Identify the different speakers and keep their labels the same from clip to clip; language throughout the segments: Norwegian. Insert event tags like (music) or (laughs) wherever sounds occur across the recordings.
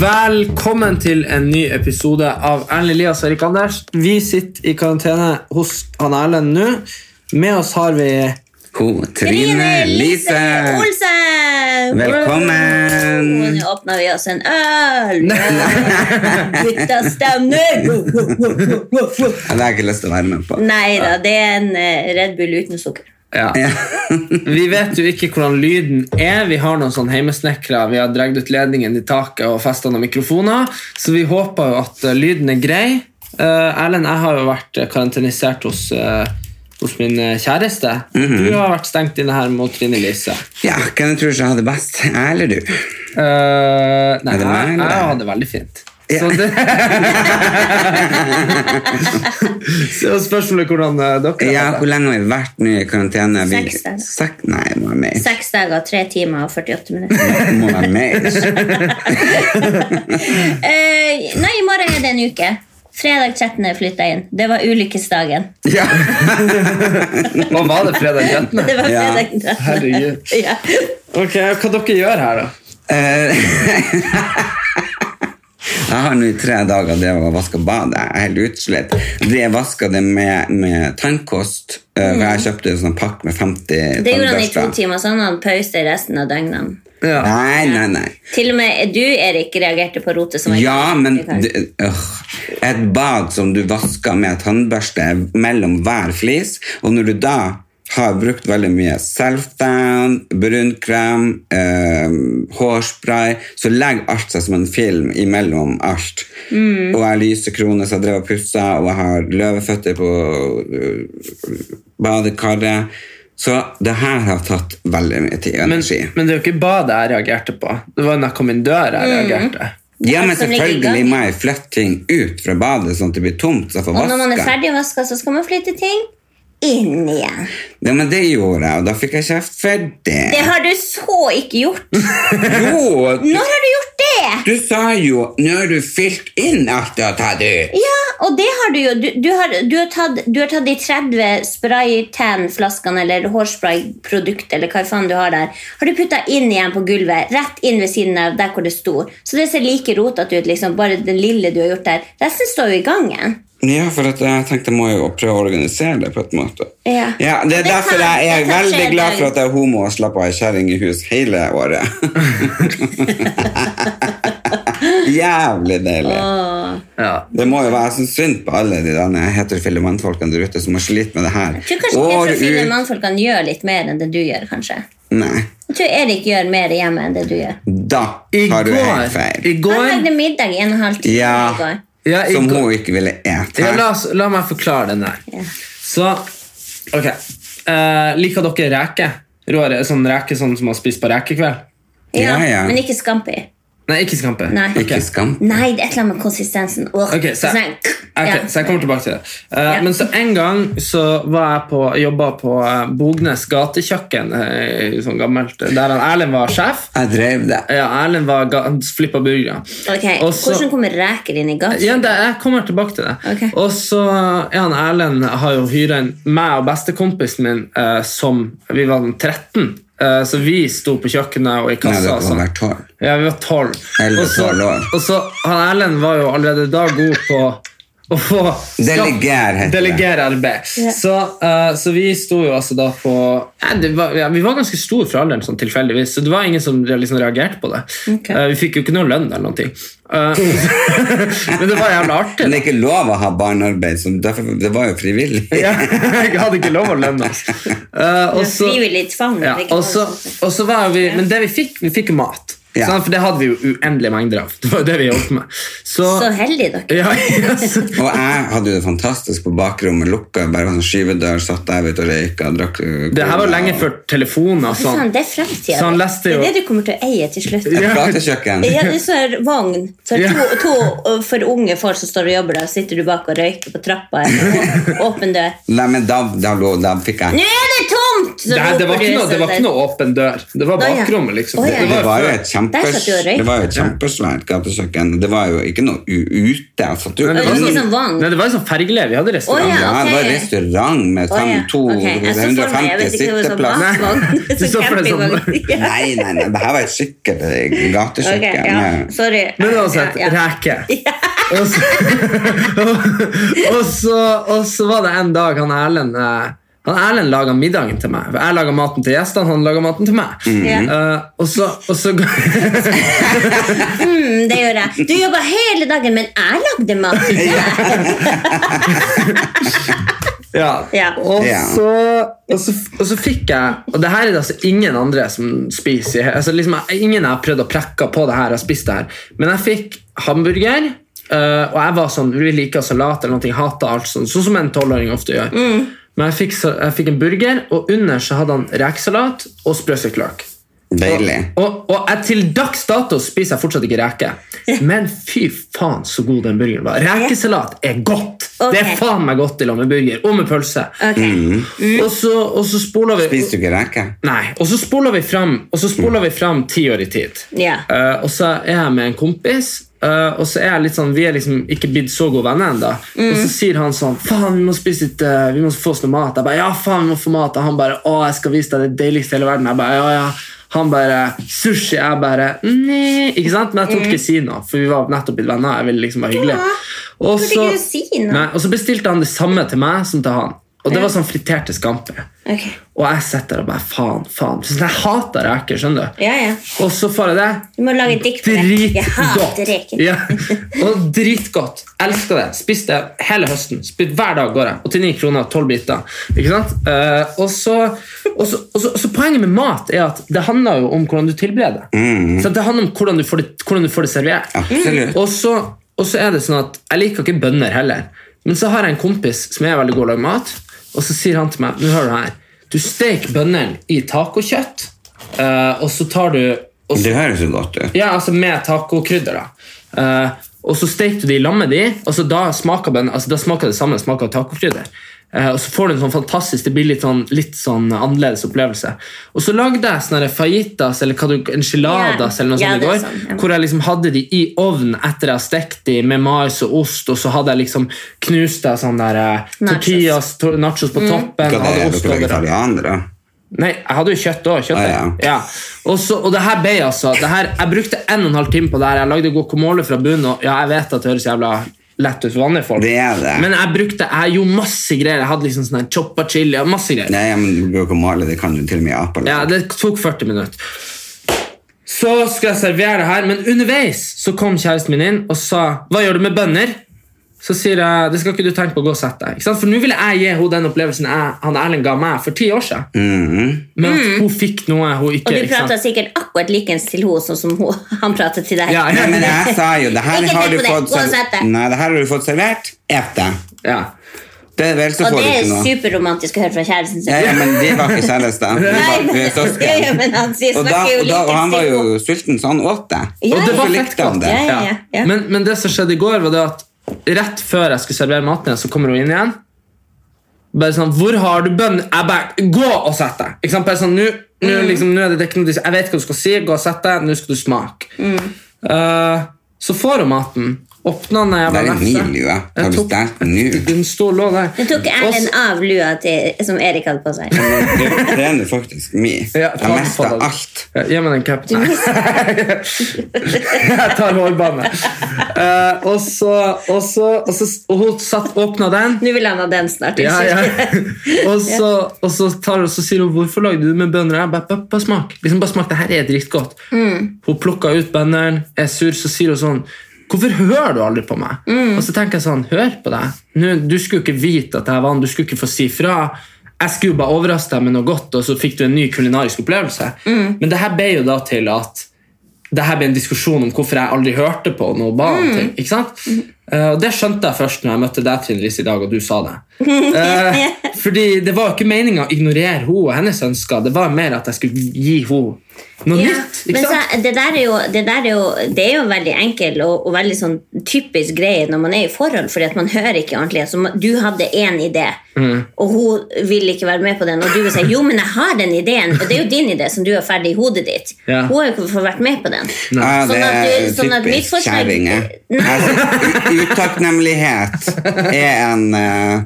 Speaker 1: Velkommen til en ny episode av Erlend Elias og Erik Anders. Vi sitter i karantene hos han Erlend nå. Med oss har vi
Speaker 2: Ho, Trine Lise!
Speaker 3: Olsen!
Speaker 2: Velkommen!
Speaker 3: Wow, Nå åpner vi oss en øl! Gutta stemmer!
Speaker 2: Ja, Det har jeg ikke lyst til å være med på.
Speaker 3: Nei da, det er en eh, Red Bull uten sukker.
Speaker 1: ja.
Speaker 2: Ja.
Speaker 1: (laughs) Vi vet jo ikke hvordan lyden er. Vi har noen sånn heimesnekra. Vi har dratt ut ledningen i taket og festa noen mikrofoner. Så vi håper jo at eh, lyden er grei. Eh, Erlend, jeg har jo vært eh, karantenisert hos, eh, hos min eh, kjæreste. Du har vært stengt inne her mot Trine Lise.
Speaker 2: ja, hvem tror du som har det best? Jeg eller du?
Speaker 1: Eh, nei,
Speaker 2: Er det meg
Speaker 1: jeg,
Speaker 2: eller
Speaker 1: jeg
Speaker 2: deg?
Speaker 1: har det veldig fint.
Speaker 2: Ja.
Speaker 1: Så,
Speaker 2: (laughs)
Speaker 1: det så spørsmålet er hvordan eh, dere
Speaker 2: Ja,
Speaker 1: har
Speaker 2: Hvor
Speaker 1: det.
Speaker 2: lenge har vi vært nå i karantene? Vi-
Speaker 3: Seks dager.
Speaker 2: Sek nei, det må være mer.
Speaker 3: Seks dager, tre timer og 48
Speaker 2: (laughs)
Speaker 3: minutter.
Speaker 2: Det må være mer.
Speaker 3: Eh, nei, i morgen er det en uke. Fredag 13. flytta jeg inn. Det var ulykkesdagen.
Speaker 2: (laughs) Ja.
Speaker 1: Hva var det fredag 13.?
Speaker 3: Det var
Speaker 2: Ja.
Speaker 3: fredag 13.
Speaker 1: Herregud.
Speaker 3: Ja.
Speaker 1: Ok, Hva dere gjør her, da?
Speaker 2: Eh, Jeg har nå i tre dager det å vaske badet. Jeg er helt utslett. Det jeg vaska det med, med tannkost. eh, for Jeg kjøpte en sånn pakke med 50
Speaker 3: Mm. Det gjorde han i to
Speaker 2: tannbørster.
Speaker 3: timer, så han hadde pause resten av døgnet.
Speaker 1: Ja.
Speaker 2: Nei, nei, nei.
Speaker 3: Til og med du, Erik, reagerte på rotet. som var-
Speaker 2: Ja, men det, øh, Et bad som du vasker med tannbørste mellom hver flis, og når du da har brukt veldig mye self-down, brunkrem, øh, hårspray, så legger alt seg som en film imellom alt. Og jeg har lyse kroner, så jeg drev og pussa, og jeg har løveføtter på øh, badekaret. Så det her har tatt veldig mye tid og
Speaker 1: Men,
Speaker 2: energi.
Speaker 1: men det er jo ikke badet jeg reagerte på. Det var når jeg kom inn døra jeg
Speaker 2: Mm.
Speaker 1: reagerte.
Speaker 2: Ja, men
Speaker 3: som ligger i
Speaker 2: selvfølgelig
Speaker 3: gangen.
Speaker 2: må jeg flytte ting ut fra badet sånn at det blir tomt. Så jeg får
Speaker 3: Og når man er
Speaker 2: vaske.
Speaker 3: ferdig vaska, så skal man flytte ting inn igjen.
Speaker 2: Ja, men det gjorde jeg, og da fikk jeg kjeft for
Speaker 3: Det
Speaker 2: det.
Speaker 3: har du så ikke
Speaker 2: (laughs)
Speaker 3: gjort.
Speaker 2: Jo,
Speaker 3: (laughs) Når har du gjort det?
Speaker 2: du sa jo 'nå har du fylt inn alt du har tatt ut'.
Speaker 3: Ja, og det har du jo. Du, du, har, du, har, tatt, du har tatt de 30 spraytan-flaskene eller hårsprayprodukt eller hva faen du har der, har du putta inn igjen på gulvet, rett inn ved siden av der hvor det sto. Så det ser like rotete ut, liksom, bare det lille du har gjort der. Resten står jo i gangen.
Speaker 2: Ja, for at jeg tenkte jeg må jo prøve å organisere det på et måte.
Speaker 3: Ja.
Speaker 2: Det er
Speaker 3: Og det
Speaker 2: derfor
Speaker 3: kan-
Speaker 2: jeg er
Speaker 3: det kan skje
Speaker 2: veldig
Speaker 3: en
Speaker 2: glad
Speaker 3: dag.
Speaker 2: for at jeg er homo og slapp å ha ei kjerring i hus hele
Speaker 3: (laughs)
Speaker 2: året. (laughs) Jævlig deilig.
Speaker 1: Ja.
Speaker 2: Det må jo være sånn synd på alle de der heterofile mannfolkene der ute som har slitt med det her.
Speaker 3: Jeg tror kanskje heterofile mannfolkene gjør litt mer enn det du gjør, kanskje.
Speaker 2: Nei.
Speaker 3: Jeg tror Erik gjør mer hjemme enn det du gjør.
Speaker 2: Da
Speaker 1: I
Speaker 2: har du helt
Speaker 1: går,
Speaker 2: feil.
Speaker 1: i går,
Speaker 3: Han lagde middag i en og en halv time
Speaker 2: Ja.
Speaker 3: i går.
Speaker 1: ja, i
Speaker 2: Som
Speaker 1: går
Speaker 2: hun ikke ville ete.
Speaker 1: ja, la, oss- la meg forklare den der. Så Ok. Eh, liker dere reker? Rå re- sånn reker sånn som man spiser på rekekveld?
Speaker 3: Ja,
Speaker 2: Ja, ja.
Speaker 3: Men ikke scampi.
Speaker 1: Nei, ikke skampe.
Speaker 3: Nei.
Speaker 2: Ikke skam.
Speaker 3: Nei, det er et eller annet med konsistensen. Åh,
Speaker 1: Ok, så jeg,
Speaker 3: sånn,
Speaker 1: ok,
Speaker 3: ja.
Speaker 1: så jeg kommer tilbake til det. Eh,
Speaker 3: Ja.
Speaker 1: Men så en gang så var jeg på, jobba på eh, Bognes gatekjøkken, eh, sånn gammelt, der han Erlend var sjef.
Speaker 2: Jeg drev det.
Speaker 1: Ja, Erlend var ga- han flippa burgere.
Speaker 3: Ok,
Speaker 1: Og så-
Speaker 3: Hvordan kommer reker inn i gaten?
Speaker 1: Ja, det, jeg kommer tilbake til det.
Speaker 3: Ok.
Speaker 1: Og så er han Erlend har jo hyra inn meg og bestekompisen min eh, som Vi var den 13, eh, så vi sto på kjøkkenet og i
Speaker 2: Nei,
Speaker 1: kassa.
Speaker 2: dere
Speaker 1: og
Speaker 2: må
Speaker 1: sånn.
Speaker 2: være tolv.
Speaker 1: Ja, vi var tolv.
Speaker 2: Elleve,
Speaker 1: Og så-
Speaker 2: tolv år.
Speaker 1: Og så, han Erlend var jo allerede da god på å få
Speaker 2: Deleger, heter det.
Speaker 1: Delegere arbeid. Så, eh, så vi sto jo altså da på ja, det var, ja, Vi var ganske store fra alderen, sånn tilfeldigvis, så det var ingen som liksom reagerte på det.
Speaker 3: Ok.
Speaker 1: Eh, vi fikk jo ikke noe lønn eller noen ting. Eh, (laughs) men det var jævla artig.
Speaker 2: Men det er ikke lov å ha barnearbeid. Som, derfor, det var jo frivillig.
Speaker 1: Ja, (laughs) jeg hadde ikke lov å lønne oss. Eh, og så-
Speaker 3: Frivillig tvang.
Speaker 1: Ja,
Speaker 3: det er ikke
Speaker 1: og så,
Speaker 3: noe sånt.
Speaker 1: og så var vi, Men det vi fikk, vi fikk mat.
Speaker 2: Ja.
Speaker 1: Sant? For det hadde vi jo uendelige mengder av. (laughs) Det var jo det vi holdt på med. Så,
Speaker 3: Så heldige dere.
Speaker 1: ja, (laughs) yes.
Speaker 2: (laughs) Og jeg hadde jo det fantastisk på bakrommet, lukka bare sånn skyvedør, satt der ute og røyka. Drakk eh,
Speaker 1: Det her var
Speaker 2: cola.
Speaker 1: jo lenge før
Speaker 3: Fy
Speaker 1: telefoner.
Speaker 3: faen,
Speaker 1: Sånn.
Speaker 3: det er fremtiden.
Speaker 1: Så han leste jo-
Speaker 3: Det er det du kommer til å eie til slutt.
Speaker 2: Et
Speaker 1: Ja.
Speaker 2: platekjøkken.
Speaker 1: (laughs)
Speaker 3: Ja, det er sånn her vogn. Så
Speaker 1: Ja.
Speaker 3: to, to uh, for unge folk som står og jobber der, sitter du bak og røyker på trappa. eller å-
Speaker 1: (laughs)
Speaker 3: Åpen dør.
Speaker 2: Nei, men da, da, lå- da fikk jeg
Speaker 3: Nå er det tomt! Så
Speaker 1: Det, her- det, var
Speaker 3: roper du
Speaker 1: ikke noe, det var
Speaker 3: sånn
Speaker 1: ikke noe åpen dør. Det
Speaker 3: Å,
Speaker 1: var
Speaker 3: ja.
Speaker 1: bakrommet,
Speaker 3: Å,
Speaker 1: liksom.
Speaker 3: ja.
Speaker 2: Det var jo et,
Speaker 3: Der
Speaker 2: kjempes,
Speaker 3: satt du og røykte.
Speaker 2: det var jo et kjempesvært gatekjøkken. Det var jo ikke noe u- ute. Jeg satt jo
Speaker 1: Nei,
Speaker 3: der. Det
Speaker 2: inne.
Speaker 3: var ikke sånn vagn.
Speaker 1: Nei, det var jo sånn fergeleie. Vi hadde
Speaker 3: Å,
Speaker 1: restaurant.
Speaker 3: ja.
Speaker 2: Ja, det var
Speaker 3: ok.
Speaker 2: restaurant med
Speaker 3: Å,
Speaker 2: fem,
Speaker 3: ja.
Speaker 2: to,
Speaker 3: Ok, jeg så for meg, jeg vet
Speaker 2: 150
Speaker 3: ikke hva det var,
Speaker 2: sitteplasser.
Speaker 3: sånn
Speaker 1: (laughs)
Speaker 3: vagn,
Speaker 1: Nei, du
Speaker 3: sånn
Speaker 1: så for deg sånn-
Speaker 3: campingvagn.
Speaker 1: (laughs)
Speaker 3: Ja.
Speaker 2: (laughs) Nei, nei, nei, det her var et eh, skikkelig gatekjøkken.
Speaker 3: Ok, ja.
Speaker 2: med-
Speaker 3: Sorry.
Speaker 1: Men uansett,
Speaker 3: (laughs) Ja, ja.
Speaker 1: reke. Og så, (laughs) og, så, og så var det en dag han Erlend eh, han Erlend laga middagen til meg. Jeg laga maten til gjestene, han laga maten til meg.
Speaker 3: Ja.
Speaker 1: Eh, og så, og så
Speaker 3: Mm, det gjør jeg. Du jobba hele dagen, men jeg lagde mat
Speaker 1: (laughs)
Speaker 3: til deg.
Speaker 1: Ja.
Speaker 3: Ja.
Speaker 1: Og,
Speaker 2: Ja.
Speaker 1: Så, og, så, og så fikk jeg Og det her er det altså ingen andre som spiser. i- Altså liksom, jeg- ingen jeg har prøvd å prekke på det her. Jeg spist det her Men jeg fikk hamburger, øh, og jeg var sånn Vi liker salat eller noe, hater alt sånn, sånn som en tolvåring ofte gjør.
Speaker 3: Mm.
Speaker 1: Men jeg fikk, så, jeg fikk en burger, og under så hadde han rekesalat og sprøstekt
Speaker 2: Deilig.
Speaker 1: og, og jeg, til dags dato spiser jeg fortsatt ikke reker. Men fy faen så god den burgeren var. Rekesalat er godt!
Speaker 3: Ok.
Speaker 1: Det er faen meg godt i lag med burger og med pølse.
Speaker 3: Ok.
Speaker 1: Og så, og så spoler vi
Speaker 2: Spiste du ikke reker?
Speaker 1: Nei, og så spoler vi fram Og så spoler vi fram ti år i tid
Speaker 3: Ja.
Speaker 1: Eh, Og så er jeg med en kompis eh, Og så er jeg litt sånn Vi er liksom ikke blitt så gode venner enda
Speaker 3: Mm.
Speaker 1: Og så sier han sånn Faen, vi må spise litt eh, Vi må få oss noe mat Jeg bare, ja faen, vi må få mat Og han bare, å, jeg skal vise deg det deiligste i hele verden Jeg bare, ja, ja Han bare, sushi Jeg bare, nei Ikke sant? Men jeg torde ikke si noe For vi var nettopp blitt venner Jeg ville liksom være hyggelig
Speaker 3: Mm. Ja,
Speaker 1: Og
Speaker 3: torde
Speaker 1: så-
Speaker 3: ikke si noe.
Speaker 1: Nei, og så bestilte han det samme til meg Som til han Og det var sånn friterte skampe
Speaker 3: Ok.
Speaker 1: og jeg sitter der og bare faen, faen. Så jeg hater reker, skjønner du.
Speaker 3: Ja, ja.
Speaker 1: Og så får jeg det
Speaker 3: Du må lage et dikt på det. Jeg
Speaker 1: dritgodt.
Speaker 3: hater reker.
Speaker 1: Ja.
Speaker 3: (laughs)
Speaker 1: Og dritgodt. Elsker det. Spiste det hele høsten. Spist hver dag går jeg. 89 kroner, 12 biter. Ikke sant? Eh, og så, og så, og så, så poenget med mat er at det handler jo om hvordan du tilbereder. Så det handler om hvordan du får det, hvordan du får det servert.
Speaker 2: Absolutt.
Speaker 1: Og så, og så er det sånn at Jeg liker ikke bønner heller. Men så har jeg en kompis som er veldig god til å lage mat, og så sier han til meg Nå hører du her. Du steker bønnene i tacokjøtt, eh, og så tar du og så,
Speaker 2: Det høres jo godt ut.
Speaker 1: Ja, altså med tacokrydder, da. Eh, og så steker du det i lammet di, og så da smaker, bønner- altså, da smaker det samme smaker av tacokrydder. Eh, og så får du en sånn fantastisk, det blir litt sånn, litt sånn annerledes opplevelse. Og så lagde jeg sånne fajitas eller hva du, enchiladas
Speaker 3: Ja,
Speaker 1: eller noe
Speaker 3: ja,
Speaker 1: sånt i
Speaker 3: det er
Speaker 1: går.
Speaker 3: sånn, ja.
Speaker 1: Hvor jeg liksom hadde de i ovnen etter jeg har stekt de med mais og ost, og så hadde jeg liksom knust jeg sånn der eh,
Speaker 3: Nachos. Mm.
Speaker 1: tortillas, to nachos på toppen.
Speaker 2: Hva det
Speaker 1: hadde
Speaker 2: er
Speaker 1: ost
Speaker 2: dere
Speaker 1: overalt.
Speaker 2: vegetarianere?
Speaker 1: Nei, jeg hadde jo kjøtt òg.
Speaker 2: Ah, ja.
Speaker 1: ja. Og, så- og det her ble altså det her, Jeg brukte en og en halv time på det her. Jeg lagde guacamole fra bunnen, og ja, jeg vet at det høres jævla lett ut for vanlige folk,
Speaker 2: Det er det.
Speaker 1: men jeg brukte jeg gjorde masse greier. Jeg hadde liksom sånn her choppa chili og masse greier.
Speaker 2: Nei, ja, men guacamole, det kan du til og med i Apel.
Speaker 1: Ja, Det tok 40 minutter. Så skal jeg servere det her, men underveis så kom kjæresten min inn og sa Hva gjør du med bønner? Så sier jeg det skal ikke du tenke på å gå og sette deg. Ikke sant? For nå ville jeg gi henne den opplevelsen jeg, han Erlend ga meg for ti år siden.
Speaker 2: Mm-hmm.
Speaker 1: Men
Speaker 2: Mm.
Speaker 1: at hun fikk noe hun ikke
Speaker 3: Og du
Speaker 1: ikke sant?
Speaker 3: prater sikkert akkurat likens til henne sånn som hun, han prater til deg.
Speaker 1: Ja,
Speaker 2: Nei, men jeg sa jo, det her
Speaker 3: Ikke
Speaker 2: har
Speaker 3: tenk på
Speaker 2: du
Speaker 3: det.
Speaker 2: fått
Speaker 3: Gå og sett
Speaker 2: servert.
Speaker 3: deg.
Speaker 2: Nei, det her har du fått servert. Et det.
Speaker 1: ja.
Speaker 2: Det er vel så
Speaker 3: Og
Speaker 2: får du
Speaker 3: det er
Speaker 2: ikke noe.
Speaker 3: superromantisk å høre fra kjæresten sin.
Speaker 2: Ja, ja, men de var ikke kjærester. De
Speaker 3: Nei,
Speaker 2: var eh,
Speaker 3: Ja, ja,
Speaker 2: søsken.
Speaker 3: men han sier,
Speaker 2: Og, da,
Speaker 3: snakker jo
Speaker 2: og, da, og
Speaker 3: likens
Speaker 2: han
Speaker 3: til
Speaker 2: var
Speaker 3: henne.
Speaker 2: jo sulten, så han åt det.
Speaker 3: Ja,
Speaker 2: Og
Speaker 3: det var
Speaker 2: så likte
Speaker 1: godt.
Speaker 2: han det.
Speaker 3: Ja, ja, ja.
Speaker 1: Men, men det som skjedde i går, var det at rett før jeg skulle servere maten, igjen, så kommer hun inn igjen. Bare sånn 'Hvor har du bønn?' Jeg bare 'Gå og sett deg'. Ikke sant? Bare sånn, nå, nå,
Speaker 3: Mm.
Speaker 1: liksom, nå er det, det er ikke noe dis- Jeg vet hva du skal si. Gå og sett deg. Nå skal du smake.
Speaker 3: Mm.
Speaker 1: Eh, så får hun maten. Åpna den
Speaker 2: Det
Speaker 1: jævla
Speaker 2: er en
Speaker 1: lefse.
Speaker 2: hel uke. Har
Speaker 1: Jeg
Speaker 2: du
Speaker 1: tok-
Speaker 3: (laughs)
Speaker 2: stekt den nå?
Speaker 1: Den sto og lå der.
Speaker 3: Nå tok
Speaker 1: Og så-
Speaker 3: Erlend av lua til, som Erik hadde på seg.
Speaker 2: Det det er nå faktisk min.
Speaker 1: Ja,
Speaker 2: Jeg
Speaker 1: ta den på
Speaker 2: mista
Speaker 1: deg.
Speaker 2: alt.
Speaker 1: Ja, Gi meg den (laughs) capen. Jeg tar hårbåndet. Eh, og så, og så, og så og hun satt, åpna den.
Speaker 3: Nå vil han ha den snart.
Speaker 1: Ja, ja.
Speaker 3: unnskyld.
Speaker 1: (laughs) Og så, og så, tar, hun- så sier hun 'Hvorfor lagde du det med bønner?' Jeg bare, bare, bare smak. Liksom bare smak, Det her er dritgodt. Hun plukker ut bønnene, er sur, så sier hun sånn 'Hvorfor hører du aldri på meg?' Og så tenker jeg sånn Hør på deg. Nå, du skulle jo ikke vite at jeg var han, du skulle ikke få si fra. Jeg skulle jo bare Mm. overraske deg med noe godt, og så fikk du en ny kulinarisk opplevelse. Men det her ble jo da til at det her ble en diskusjon om hvorfor jeg aldri hørte på når hun ba
Speaker 3: Mm.
Speaker 1: om ting. ikke sant? Eh, og Det skjønte jeg først når jeg møtte deg Trine Lise, i dag og du sa det.
Speaker 3: (laughs)
Speaker 1: Eh, fordi det var jo ikke meninga å ignorere hun og hennes ønsker, det var mer at jeg skulle gi hun noe
Speaker 3: Ja,
Speaker 1: nytt.
Speaker 3: men
Speaker 1: ikke
Speaker 3: så,
Speaker 1: sant?
Speaker 3: det, der er jo, det der er jo Det er jo veldig enkel og, og veldig sånn typisk greie når man er i forhold, fordi at man hører ikke ordentlig. Altså, man- du hadde én idé,
Speaker 1: Mm.
Speaker 3: og hun vil ikke være med på den, og du vil si 'jo, men jeg har den ideen', og det er jo din idé som du har ferdig i hodet ditt.
Speaker 1: Ja.
Speaker 3: Hun har jo ikke fått vært med på den.
Speaker 2: Ja, det
Speaker 3: Sånn at
Speaker 2: er
Speaker 3: du- sånn at mitt
Speaker 2: typisk
Speaker 3: forslag-
Speaker 2: kjerring. jeg. Altså, u- Utakknemlighet er en, eh,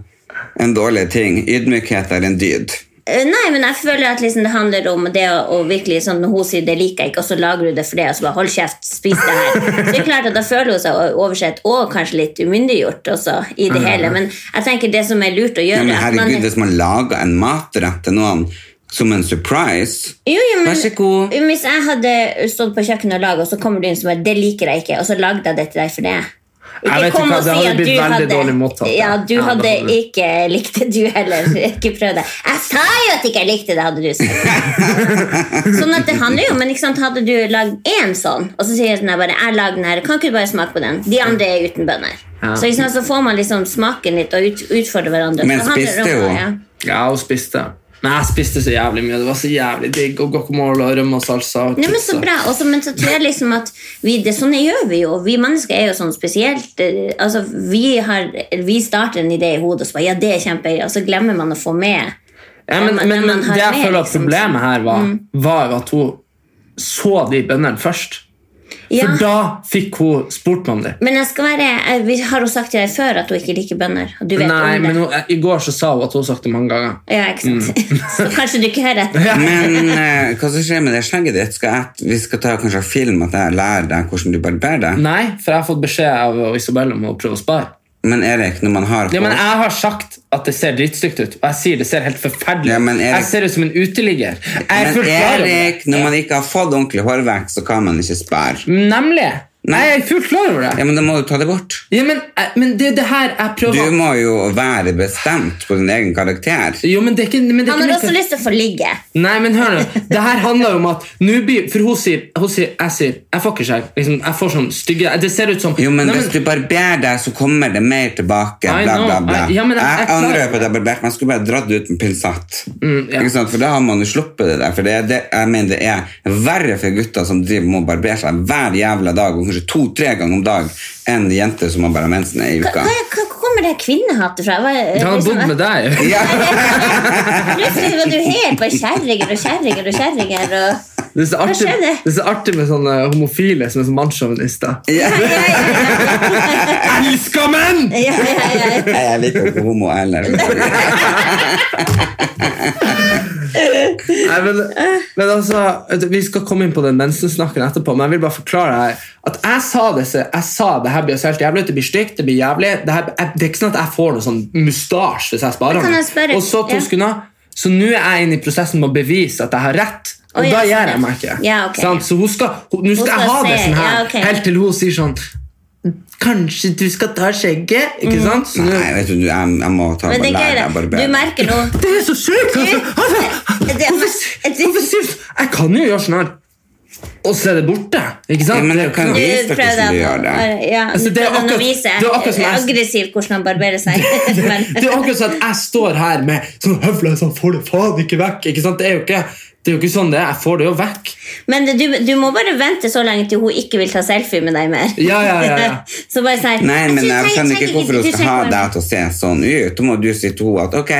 Speaker 2: en dårlig ting. Ydmykhet er en dyd.
Speaker 3: Eh, Nei, men jeg føler at liksom det handler om det å, å virkelig sånn, Når hun sier 'det liker jeg ikke', og så lager du det for det, og så bare 'hold kjeft, spis det
Speaker 2: (laughs)
Speaker 3: her'. Så det er klart at Da føler hun seg o- oversett og kanskje litt umyndiggjort også i det hele. Men jeg tenker det som er lurt å
Speaker 2: Ja,
Speaker 3: gjøre
Speaker 2: men
Speaker 3: at man-
Speaker 2: herregud, hvis man lager en matrett til noen som en surprise
Speaker 3: jo, jo, men,
Speaker 2: Vær så god.
Speaker 3: Hvis jeg hadde stått på kjøkkenet og laget, og så kommer du inn som bare 'det liker jeg ikke', og så lagde jeg det til deg for det
Speaker 1: Jeg vet
Speaker 3: Ikke kom
Speaker 1: ikke hva,
Speaker 3: og
Speaker 1: det
Speaker 3: si
Speaker 1: hadde
Speaker 3: at
Speaker 1: blitt
Speaker 3: du
Speaker 1: veldig
Speaker 3: hadde
Speaker 1: dårlig mottatt,
Speaker 3: Ja,
Speaker 1: ja.
Speaker 3: du
Speaker 1: Ja, det
Speaker 3: hadde
Speaker 1: hadde det.
Speaker 3: ikke likt det, du heller. Ikke prøv det. Jeg sa jo at ikke jeg likte det, hadde du sagt.
Speaker 1: (laughs)
Speaker 3: sånn at det handler jo, men ikke sant, hadde du lagd én sånn, og så sier jeg sånn her bare Jeg lager den her, kan ikke du bare smake på den? De andre er uten bønner.
Speaker 1: Ja.
Speaker 3: Så, ikke sant, så får man liksom smaken litt og ut, utfordre hverandre.
Speaker 2: Men
Speaker 3: Så handler det om
Speaker 2: spiste
Speaker 3: å-
Speaker 2: hun?
Speaker 3: ja.
Speaker 1: Ja, hun spiste. Nei, jeg spiste så jævlig mye. Det var så jævlig digg. Og guacamole og rømme og salsa. Og
Speaker 3: Nei, men
Speaker 1: pizza.
Speaker 3: så bra. Også, men så tror jeg liksom at vi, det, sånn gjør vi jo. Vi mennesker er jo sånn spesielt eh, altså, vi, har, vi starter en idé i hodet, og så bare, ja, det er kjempegøy, og så glemmer man å få med
Speaker 1: Ja, men,
Speaker 3: Den man-
Speaker 1: men,
Speaker 3: den man
Speaker 1: men
Speaker 3: har
Speaker 1: det jeg
Speaker 3: med,
Speaker 1: føler at
Speaker 3: liksom.
Speaker 1: problemet her var, var jo at hun så de bøndene først.
Speaker 3: ja,
Speaker 1: For da fikk hun spurt meg om det.
Speaker 3: Men jeg skal være jeg, vi Har hun sagt til deg før at hun ikke liker bønner? Og du vet
Speaker 1: Nei,
Speaker 3: om det?
Speaker 1: men hun, eh, I går så sa hun at hun har sagt det mange ganger.
Speaker 3: Ja, ikke sant?
Speaker 1: Mm.
Speaker 3: (laughs) så kanskje du ikke hører
Speaker 1: (laughs)
Speaker 3: etter.
Speaker 2: Men eh, hva som skjer med det skjegget ditt? Skal jeg, vi skal ta kanskje en film at jeg lærer deg hvordan du barberer deg.
Speaker 1: Nei, for jeg har fått beskjed av Isabel om å prøve å spare.
Speaker 2: Men Erik, når man har
Speaker 1: Ja, men
Speaker 2: hår
Speaker 1: Jeg har sagt at det ser dritstygt ut, og jeg sier det ser helt forferdelig ut.
Speaker 2: Ja, men Erik-
Speaker 1: Jeg ser ut som en uteligger. Jeg er
Speaker 2: Men
Speaker 1: fullt klar over det.
Speaker 2: Erik, når man ikke har fått ordentlig hårvekst, så kan man ikke spare.
Speaker 1: Nemlig.
Speaker 2: Nei.
Speaker 1: Jeg er fullt klar over
Speaker 2: Ja,
Speaker 1: det.
Speaker 2: men da må du ta det bort.
Speaker 1: Ja, men, jeg- men det er det her jeg
Speaker 2: Du
Speaker 1: prøver
Speaker 2: må jo være bestemt på din egen karakter.
Speaker 1: Jo, men det er ikke, men altså, det er
Speaker 3: Han
Speaker 1: ikke
Speaker 3: har
Speaker 1: mitt-
Speaker 3: også lyst til å få ligge.
Speaker 1: Nei, men hør nå. Det her handler jo om at nå blir, For hun sier, hun sier Jeg sier, jeg får ikke skjegg. Liksom, jeg får sånn stygge Det ser ut som
Speaker 2: Jo, men
Speaker 1: Nei,
Speaker 2: hvis du barberer deg, så kommer det mer tilbake.
Speaker 1: I
Speaker 2: Bla, bla,
Speaker 1: know,
Speaker 2: bla.
Speaker 1: I- ja, men jeg- jeg
Speaker 2: jeg
Speaker 1: klarer
Speaker 2: angrer
Speaker 1: det.
Speaker 2: på at jeg barberte Man skulle bare dratt det ut med pinsett.
Speaker 1: Mm, ja.
Speaker 2: Ikke sant? For da har man jo sluppet det der. For det, er det, jeg mener det er verre for gutter som driver med å barbere seg hver jævla dag, og kanskje to-tre ganger om dag, enn jenter som har bare mensen i
Speaker 3: Hva,
Speaker 2: uka.
Speaker 3: hva, hva kommer det her kvinnehatet fra? Hva,
Speaker 1: Han har
Speaker 3: liksom-
Speaker 1: bodd med deg.
Speaker 2: Ja.
Speaker 3: (laughs) Plutselig var du helt på kjerringer og kjerringer og kjerringer.
Speaker 1: (laughs)
Speaker 3: Og...
Speaker 1: Det er så artig,
Speaker 3: skjedde?
Speaker 1: det er så artig med sånne homofile som er så mannssjåvinister.
Speaker 2: Ja.
Speaker 3: Ja, ja, ja,
Speaker 1: Elsker menn!
Speaker 3: ja, ja, ja, ja.
Speaker 2: Nei, Jeg liker ikke
Speaker 3: (laughs)
Speaker 2: homo heller.
Speaker 1: Nei, men,
Speaker 3: Eh.
Speaker 1: men altså, Vi skal komme inn på den mensensnakken etterpå, men jeg vil bare forklare her at jeg sa det, så- jeg sa det her blir så helt jævlig ut, det blir stygt, det blir jævlig. Det, her, jeg, det er ikke sånn at jeg får noe sånn mustasje hvis jeg sparer
Speaker 3: Men kan jeg spørre-
Speaker 1: Og så to
Speaker 3: ja.
Speaker 1: sekunder, så nå er jeg inne i prosessen med å bevise at jeg har rett. Og
Speaker 3: Å, ja,
Speaker 1: da
Speaker 3: sånn,
Speaker 1: gjør
Speaker 3: ja.
Speaker 1: jeg meg ikke.
Speaker 3: Ja, ok.
Speaker 1: Sant? Så hun skal, hun, nå skal,
Speaker 3: skal
Speaker 1: jeg ha det
Speaker 3: se,
Speaker 1: sånn her,
Speaker 3: ja, ok.
Speaker 1: helt til hun sier sånn Kanskje du skal ta skjegget? Ikke
Speaker 3: Mm.
Speaker 1: sant? Så nå-
Speaker 2: Nei, vet du, jeg, jeg må ta
Speaker 3: Men det er
Speaker 2: og
Speaker 3: gøy,
Speaker 2: lære meg å
Speaker 3: da. Du
Speaker 2: barbere.
Speaker 3: merker nå
Speaker 1: Det er så sjukt!
Speaker 2: Eh,
Speaker 1: Altså. Altså,
Speaker 3: Det- det-
Speaker 1: hvorfor, hvorfor sier du Jeg kan jo gjøre sånn her, og så er det borte. Ikke
Speaker 2: Ja,
Speaker 1: sant?
Speaker 2: men du kan
Speaker 3: Du
Speaker 2: jo vise
Speaker 3: eh,
Speaker 2: deg
Speaker 3: prøvde
Speaker 2: hvordan du gjør det.
Speaker 3: ja,
Speaker 1: Altså,
Speaker 3: du
Speaker 1: det er
Speaker 3: prøvde å
Speaker 1: akkurat-
Speaker 3: vise
Speaker 1: det er akkurat som jeg-
Speaker 3: aggressivt hvordan han barberer seg. (laughs) Men,
Speaker 1: Det er akkurat sånn at jeg står her med sånn høvler sånn, får det faen ikke vekk. Ikke sant? Det er jo ikke, det er jo ikke sånn det er. Jeg får det jo vekk.
Speaker 3: men du, du må bare vente så lenge til hun ikke vil ta selfie med deg mer.
Speaker 1: Ja, ja, ja, ja.
Speaker 3: (laughs) så bare si
Speaker 2: Nei, men
Speaker 3: synes
Speaker 2: jeg skjønner ikke hvorfor
Speaker 3: du
Speaker 2: hun skal ha
Speaker 3: trenger
Speaker 2: deg til å se sånn ut. Da må du si til henne at ok,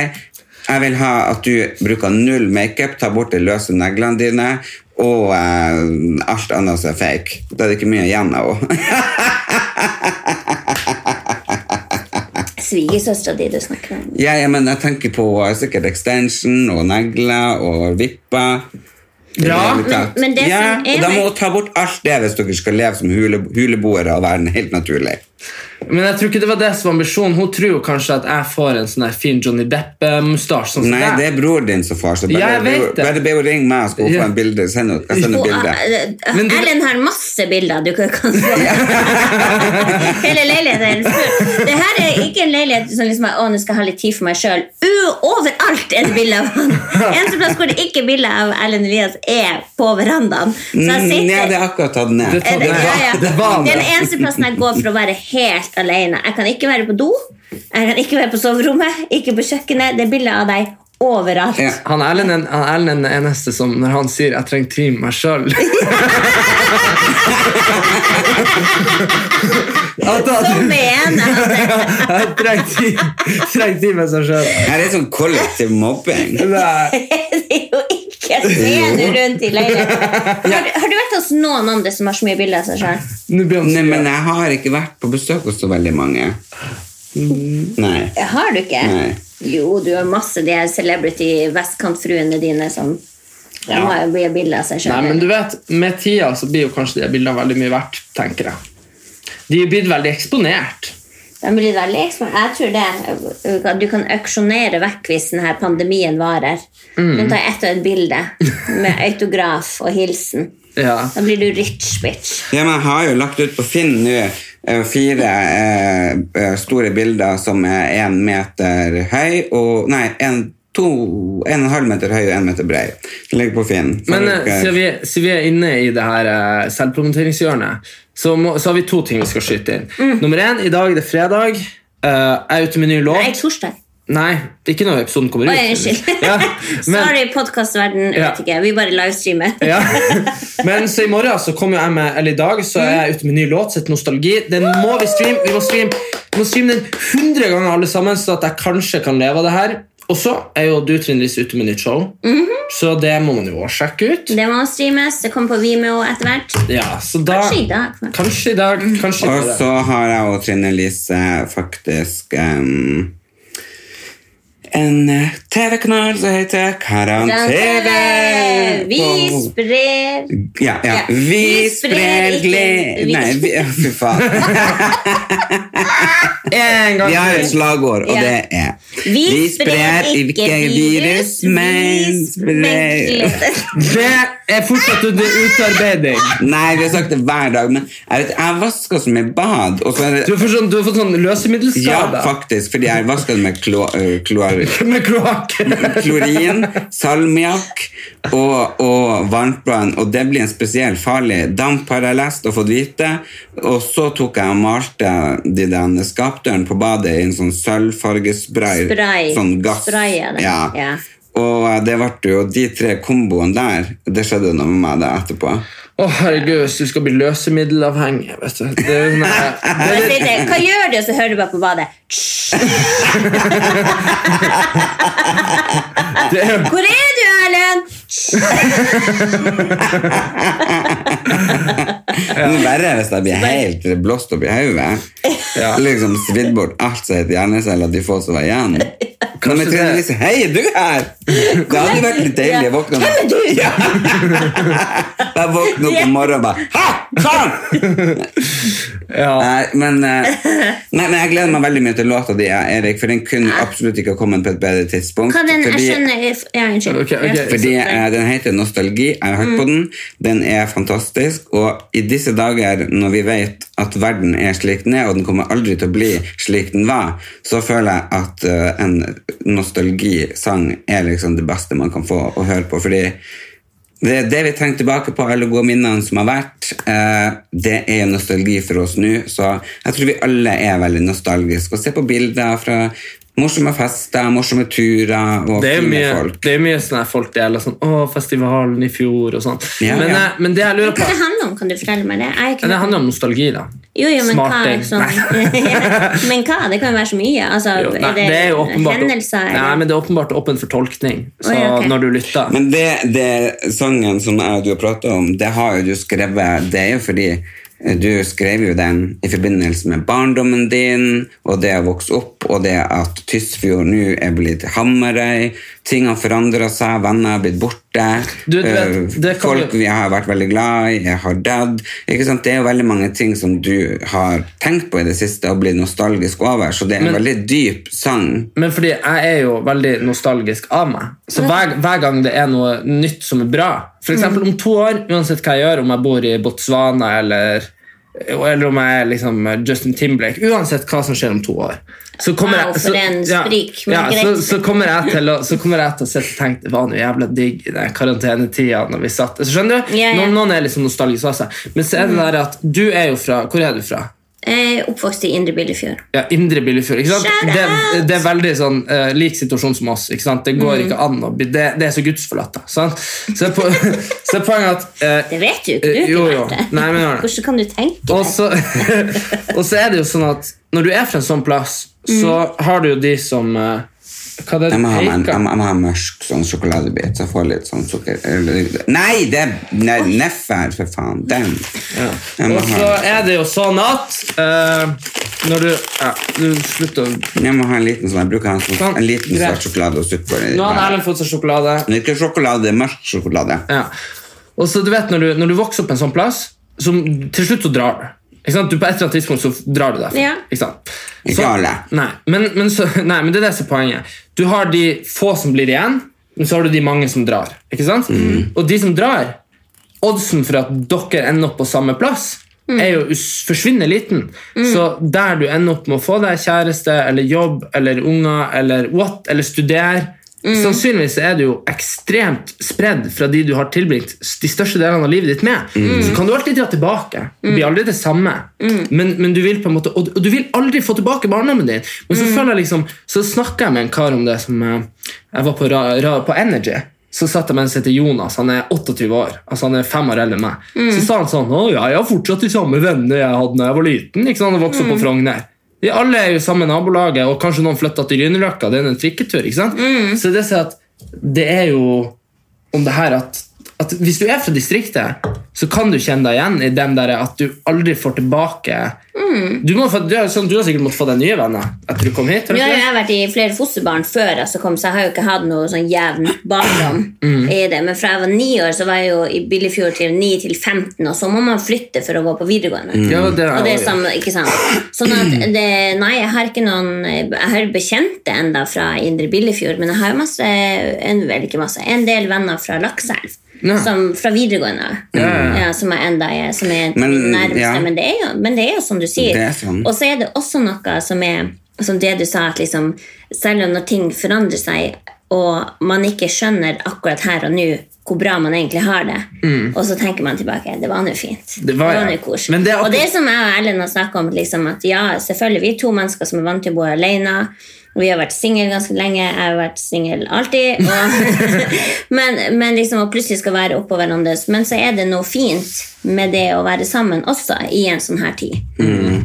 Speaker 2: jeg vil ha at du bruker null makeup, tar bort de løse neglene dine, og eh, alt annet som er fake. Da er det ikke mye igjen av henne. (laughs)
Speaker 3: bare- Svigersøstera di du snakker med.
Speaker 2: ja, ja, men jeg tenker på eh, sikkert extension og negler og vipper. I det
Speaker 1: Ja,
Speaker 2: hele tatt.
Speaker 3: men- men det
Speaker 2: ja,
Speaker 3: som er
Speaker 2: og Da
Speaker 3: med-
Speaker 2: må hun ta bort alt det hvis dere skal leve som hule, huleboere og være helt naturlig.
Speaker 1: Men jeg tror ikke det var det som var ambisjonen. Hun tror jo kanskje at jeg får en sånn her fin Johnny Depp-mustasje. Sånn som
Speaker 2: Nei,
Speaker 1: deg.
Speaker 2: det er bror din som får, så
Speaker 1: Ja,
Speaker 2: bare,
Speaker 1: jeg vet det.
Speaker 2: bare be henne ringe meg, så skal hun
Speaker 1: Ja.
Speaker 2: få en bilde. Send henne- Jeg sender
Speaker 3: Og,
Speaker 2: bilde.
Speaker 3: eh,
Speaker 1: Men du-
Speaker 3: Ellen har masse bilder du kan kan se. (laughs) Hele leiligheten er full. Det her er ikke en leilighet som liksom er, å, nå skal jeg ha litt tid for meg sjøl. Overalt er det bilder av han. Eneste plass hvor det ikke er bilder av Ellen Elias, er på verandaen. Så jeg
Speaker 2: Mm,
Speaker 3: sitter
Speaker 2: Nei, det er akkurat tatt ned.
Speaker 1: Det er tatt
Speaker 3: det,
Speaker 1: ned.
Speaker 3: ja, ja.
Speaker 1: Det var han,
Speaker 3: det er
Speaker 1: ja.
Speaker 3: den eneste plassen jeg går for å være helt alene. Jeg kan ikke være på do, jeg kan ikke være på soverommet, ikke på kjøkkenet. Det er bilder av deg overalt.
Speaker 2: Ja.
Speaker 1: Han Erlend er- han Erlend er den eneste som når han sier 'jeg trenger tid med meg sjøl'
Speaker 2: (laughs)
Speaker 1: At
Speaker 3: Som
Speaker 1: han-
Speaker 3: igjen.
Speaker 1: Jeg trenger tid, trenger tid med seg sjøl.
Speaker 2: Her er sånn kollektiv mobbing.
Speaker 1: Nei.
Speaker 3: (laughs) det er jo ikke
Speaker 1: (laughs)
Speaker 3: ser du rundt i leiligheten. Har, du- har du vært hos noen andre som har så mye bilder av seg sjøl?
Speaker 1: Nå blir han
Speaker 2: Nei, men
Speaker 1: sur.
Speaker 2: jeg har ikke vært på besøk hos så veldig mange. Mm, Nei.
Speaker 3: Har du ikke?
Speaker 2: Nei.
Speaker 3: Jo, du har masse de her celebrity vestkantfruene dine som De
Speaker 1: Ja.
Speaker 3: har jo mye bilder av seg
Speaker 1: Nei, men
Speaker 3: sjøl.
Speaker 1: du vet, Med tida så blir jo kanskje de bildene veldig mye verdt, tenker jeg. De er blitt veldig eksponert.
Speaker 3: De blir veldig eksponert. Jeg tror det. at Du kan auksjonere vekk hvis denne pandemien varer.
Speaker 1: Mm.
Speaker 3: Men ta ett og et bilde med autograf og hilsen.
Speaker 1: Ja.
Speaker 3: Da blir du rich bitch.
Speaker 2: Ja, men jeg har jo lagt ut på Finn nå eh, fire eh, eh, store bilder som er én meter høy og Nei, en, to, en og en halv meter høy og en meter brei. Det ligger på Finn. Så
Speaker 1: Men eh,
Speaker 2: dere-
Speaker 1: siden vi, siden vi er inne i det her eh, selvpromoteringshjørnet, så, må, så har vi to ting vi skal skyte inn. Nummer én, i dag er det fredag. Eh, jeg er ute med ny låt.
Speaker 3: Nei, torsdag.
Speaker 1: Nei, ikke når episoden kommer ut.
Speaker 3: Oi, unnskyld.
Speaker 1: Ja, (laughs) men,
Speaker 3: (laughs) Sorry, podkastverden.
Speaker 1: Ja.
Speaker 3: vet ikke, Vi bare livestreamer.
Speaker 1: ja. men så i morgen så kommer jo jeg med Eller i dag så er jeg ute med ny låt, sitt Nostalgi. Den må vi streame. Vi må streame vi må streame den 100 ganger, alle sammen, så at jeg kanskje kan leve av det her. Og så er jo du, Trine Lise, ute med nytt show,
Speaker 3: Mhm.
Speaker 1: så det må man jo også sjekke ut.
Speaker 3: Det må streames. Det kommer på Vimeo etter hvert.
Speaker 1: Ja, så da,
Speaker 3: Kanskje i dag.
Speaker 1: Kanskje i dag. Kanskje i
Speaker 2: Og
Speaker 1: morgen.
Speaker 2: så har jeg og Trine Lise faktisk em, en eh, TV-kanal som heter Karantene!
Speaker 3: Vi
Speaker 2: på-
Speaker 3: sprer
Speaker 2: Ja, ja.
Speaker 3: Ja.
Speaker 2: Vi sprer
Speaker 3: ikke-
Speaker 2: glede
Speaker 3: vi-
Speaker 2: Nei, vi, fy
Speaker 3: (laughs)
Speaker 2: faen.
Speaker 1: En gang
Speaker 2: Vi har et
Speaker 1: til.
Speaker 2: slagord, og
Speaker 3: Ja.
Speaker 2: det er
Speaker 3: Vi, sprer ikke virus, men sprer
Speaker 1: Det er fortsatt under utarbeiding.
Speaker 2: Nei, vi har sagt det hver dag, men jeg, vet, jeg vasker som i bad. Og så er
Speaker 1: Du
Speaker 2: det,
Speaker 1: har fått sånn, du har fått sånn
Speaker 2: ja,
Speaker 1: løsemiddelskade.
Speaker 2: faktisk, fordi jeg vasker det med klo, øh, klor,
Speaker 1: Med kloakk.
Speaker 2: (laughs) klorin, salmiakk og, og varmtbrann. Og det blir en spesiell farlig damp, har jeg lest og fått vite. Og så tok jeg og malte de den skapdøren på badet i en sånn sølvfargespray.
Speaker 3: Spray.
Speaker 2: Sånn gass.
Speaker 3: Spray er det,
Speaker 2: Ja.
Speaker 3: ja.
Speaker 2: Og eh, det ble jo de tre komboene der. Det skjedde noe med meg da etterpå.
Speaker 1: Å, herregud, hvis du skal bli løsemiddelavhengig, vet du. Det er jo sånn her-
Speaker 3: Bare si det. Hva gjør du? Og så hører du bare på badet.
Speaker 1: det er,
Speaker 3: Hvor er du, Erlend?
Speaker 2: Men verre er hvis jeg blir helt blåst opp i hodet.
Speaker 1: Ja.
Speaker 2: Liksom svidd bort alt som heter hjerneceller, de få som var igjen. Kan vi
Speaker 1: Kanskje
Speaker 2: trene
Speaker 1: det-
Speaker 2: litt? Hei, er du her! Det hadde vært litt deilig å våkne
Speaker 3: Hvem er
Speaker 2: opp.
Speaker 3: du?
Speaker 2: Jeg våkner opp om morgenen og bare Hæ! Faen!
Speaker 1: ja.
Speaker 2: Nei, men, eh, nei, men jeg gleder meg veldig mye til låta di, ja, Erik, for den kunne absolutt ikke ha kommet på et bedre tidspunkt.
Speaker 3: Hva den, jeg
Speaker 2: fordi-
Speaker 3: skjønner Ja, unnskyld.
Speaker 1: Ok, ok.
Speaker 2: Fordi eh, Den heter Nostalgi. Jeg har hørt på
Speaker 1: Mm.
Speaker 2: den. Den er fantastisk. Og i disse dager, når vi vet at verden er slik den er, og den kommer aldri til å bli slik den var, så føler jeg at eh, en nostalgisang er liksom det beste man kan få å høre på. Fordi det, er det vi tenker tilbake på, alle gode minnene som har vært, eh, det er nostalgi for oss nå. Så jeg tror vi alle er veldig nostalgiske. Og se på bilder fra morsomme fester, morsomme turer og
Speaker 1: Det er
Speaker 2: fine
Speaker 1: mye,
Speaker 2: folk.
Speaker 1: det er mye sånn her folk deler sånn Å, festivalen i fjor og sånn.
Speaker 2: Ja,
Speaker 1: men,
Speaker 2: ja.
Speaker 1: eh, men det jeg lurer
Speaker 3: Hva
Speaker 1: på
Speaker 3: det handler om? Kan du fortelle meg det? Jeg er ikke
Speaker 1: Ja, Det handler om nostalgi, da.
Speaker 3: Jo, jo, men hva?
Speaker 1: Smarting.
Speaker 3: Sånn, (laughs) men hva? Det kan jo være så mye. Altså,
Speaker 1: Jo, nei,
Speaker 3: er det,
Speaker 1: det er jo åpenbart
Speaker 3: hendelser? eller?
Speaker 1: Nei, men det er åpenbart åpen for tolkning. Så
Speaker 3: Å, ja, ok.
Speaker 1: når du lytter
Speaker 2: Men det, det sangen som jeg og du har pratet om, det har jo du skrevet Det er jo fordi eh, Du skrev jo den i forbindelse med barndommen din, og det å vokse opp, og det at Tysfjord nå er blitt Hamarøy. Ting har forandra seg, venner har blitt borte.
Speaker 1: Du, du vet,
Speaker 2: Eh,
Speaker 1: det kan
Speaker 2: Folk
Speaker 1: jo-
Speaker 2: vi har vært veldig glad i, jeg har dødd. Ikke sant? Det er jo veldig mange ting som du har tenkt på i det siste og blitt nostalgisk over, så det er en veldig dyp sang.
Speaker 1: Men fordi jeg er jo veldig nostalgisk av meg. Så hver, hver gang det er noe nytt som er bra F.eks. om to år, uansett hva jeg gjør, om jeg bor i Botswana eller, eller om jeg er liksom Justin Timberlake Uansett hva som skjer om to år, så kommer
Speaker 3: Wow,
Speaker 1: jeg,
Speaker 3: for
Speaker 1: så,
Speaker 3: en sprik, men
Speaker 1: ja, så,
Speaker 3: greit.
Speaker 1: så, kommer jeg til å, så kommer jeg til å sitte og tenke det var noe jævla digg i den karantenetida når vi satt Så Skjønner du?
Speaker 3: Ja, ja.
Speaker 1: Noen, noen er liksom nostalgisk av seg. Men så er det der at du er jo fra Hvor er du fra?
Speaker 3: Eh, oppvokst i Indre Billefjord.
Speaker 1: Ja, Indre Billefjord. ikke sant?
Speaker 3: Shout
Speaker 1: Det,
Speaker 3: out! Mm.
Speaker 1: det er veldig sånn eh, lik situasjon som oss. ikke sant? Det går ikke an å bli Det, det er så gudsforlatt. da, sant? Så, er po (laughs) så er poenget at eh,
Speaker 3: Det vet du ikke,
Speaker 1: eh,
Speaker 3: du.
Speaker 1: Jo, jo.
Speaker 3: Marte.
Speaker 1: Nei, men hør nå.
Speaker 3: Hvordan kan du tenke
Speaker 1: Og
Speaker 3: det?
Speaker 1: så, og så (laughs) er det jo sånn at når du er fra en sånn plass, så
Speaker 3: Mm.
Speaker 1: har du jo de som eh, Hva det er
Speaker 2: Jeg må,
Speaker 1: det
Speaker 2: ha,
Speaker 1: du
Speaker 2: en, jeg,
Speaker 1: peker
Speaker 2: må, jeg må ha mørk sånn sjokoladebit, så jeg får litt sånn sukker eller- Nei, det er ne, neffer, for faen. Den. Jeg må
Speaker 1: Og så
Speaker 2: ha,
Speaker 1: er det jo sånn at eh, når du ja, Du slutter å
Speaker 2: jeg må ha en liten sånn, jeg bruker en, sånn, en liten
Speaker 1: Greit.
Speaker 2: svart sjokolade og suppe. i
Speaker 1: Nå har
Speaker 2: den.
Speaker 1: Erlend fått seg sjokolade.
Speaker 2: Men Ikke sjokolade, det er mørk sjokolade.
Speaker 1: Ja. Og så du vet, når du, når du vokser opp på en sånn plass, så til slutt så drar du. Ikke sant? Du På et eller annet tidspunkt så drar du derfra.
Speaker 3: Ja.
Speaker 1: Ikke sant?
Speaker 2: Ikke alle.
Speaker 1: Nei, men, men, så, (laughs) nei, men det er det som er poenget. Du har de få som blir igjen, men så har du de mange som drar. Ikke sant?
Speaker 2: Mm.
Speaker 1: Og de som drar, oddsen for at dere ender opp på samme plass, er jo us- forsvinnende liten. Så der du ender opp med å få deg kjæreste eller jobb eller unger eller what, eller studere Sannsynligvis er du jo ekstremt spredd fra de du har tilbringt s- de største delene av livet ditt med. Så kan du alltid dra tilbake. Det blir aldri det samme. Men, men du vil på en måte, og, og du vil aldri få tilbake barndommen din. Men så, føler jeg liksom, så snakka jeg med en kar om det som eh, Jeg var på, ra, ra, på Energy så satt jeg med en som heter Jonas, han er 28 år. altså han er fem år eldre enn meg. Så sa han sånn Å ja, jeg har fortsatt de samme vennene jeg hadde da jeg var liten. ikke sant, og vokste opp på Frogner. De alle er jo samme nabolaget, og kanskje noen flytta til Grünerløkka. Det er en trikketur. ikke sant? Så det sier at det er jo om det her at, at hvis du er fra distriktet, så kan du kjenne deg igjen i den der at du aldri får tilbake du, må, få- du, har, sånn, du har sikkert måttet få deg nye venner etter du kom hit. har du
Speaker 3: Nå
Speaker 1: ikke
Speaker 3: har
Speaker 1: det?
Speaker 3: jo jeg vært i flere fosterbarn før, altså, kom, så jeg har jo ikke hatt noe sånn jevn barndom.
Speaker 1: Mm.
Speaker 3: i det. Men fra jeg var ni år, så var jeg jo i Billefjord til 9 til 15, og så må man flytte for å gå på videregående.
Speaker 1: Ja, det har
Speaker 3: Og det
Speaker 1: jeg
Speaker 3: er
Speaker 1: også.
Speaker 3: samme, ikke sant? Sånn at det, nei, jeg har ikke noen Jeg har bekjente enda fra Indre Billefjord, men jeg har jo masse en, vel ikke masse, en del venner fra Lakselv.
Speaker 1: Ja.
Speaker 3: Som fra videregående.
Speaker 1: ja, ja.
Speaker 3: Ja, som jeg enda er, som er
Speaker 2: Men,
Speaker 3: nærmeste.
Speaker 2: ja.
Speaker 3: Men, det er jo, men det er jo som du sier.
Speaker 2: Det er sånn.
Speaker 3: Og så er det også noe som er som det du sa, at liksom, selv om når ting forandrer seg, og man ikke skjønner akkurat her og nå hvor bra man egentlig har det,
Speaker 2: Mm.
Speaker 3: og så tenker man tilbake det var nå fint.
Speaker 1: Det var jeg.
Speaker 3: nå kos.
Speaker 1: Men det er akkurat-
Speaker 3: Og det som jeg og Erlend har snakket om, liksom, at ja, selvfølgelig, vi er to mennesker som er vant til å bo alene. Vi har vært single ganske lenge. Jeg har vært single alltid.
Speaker 1: (laughs)
Speaker 3: Og, men, men liksom, og plutselig skal være oppå hverandres. Men så er det noe fint med det å være sammen også i en sånn her tid
Speaker 1: Mm.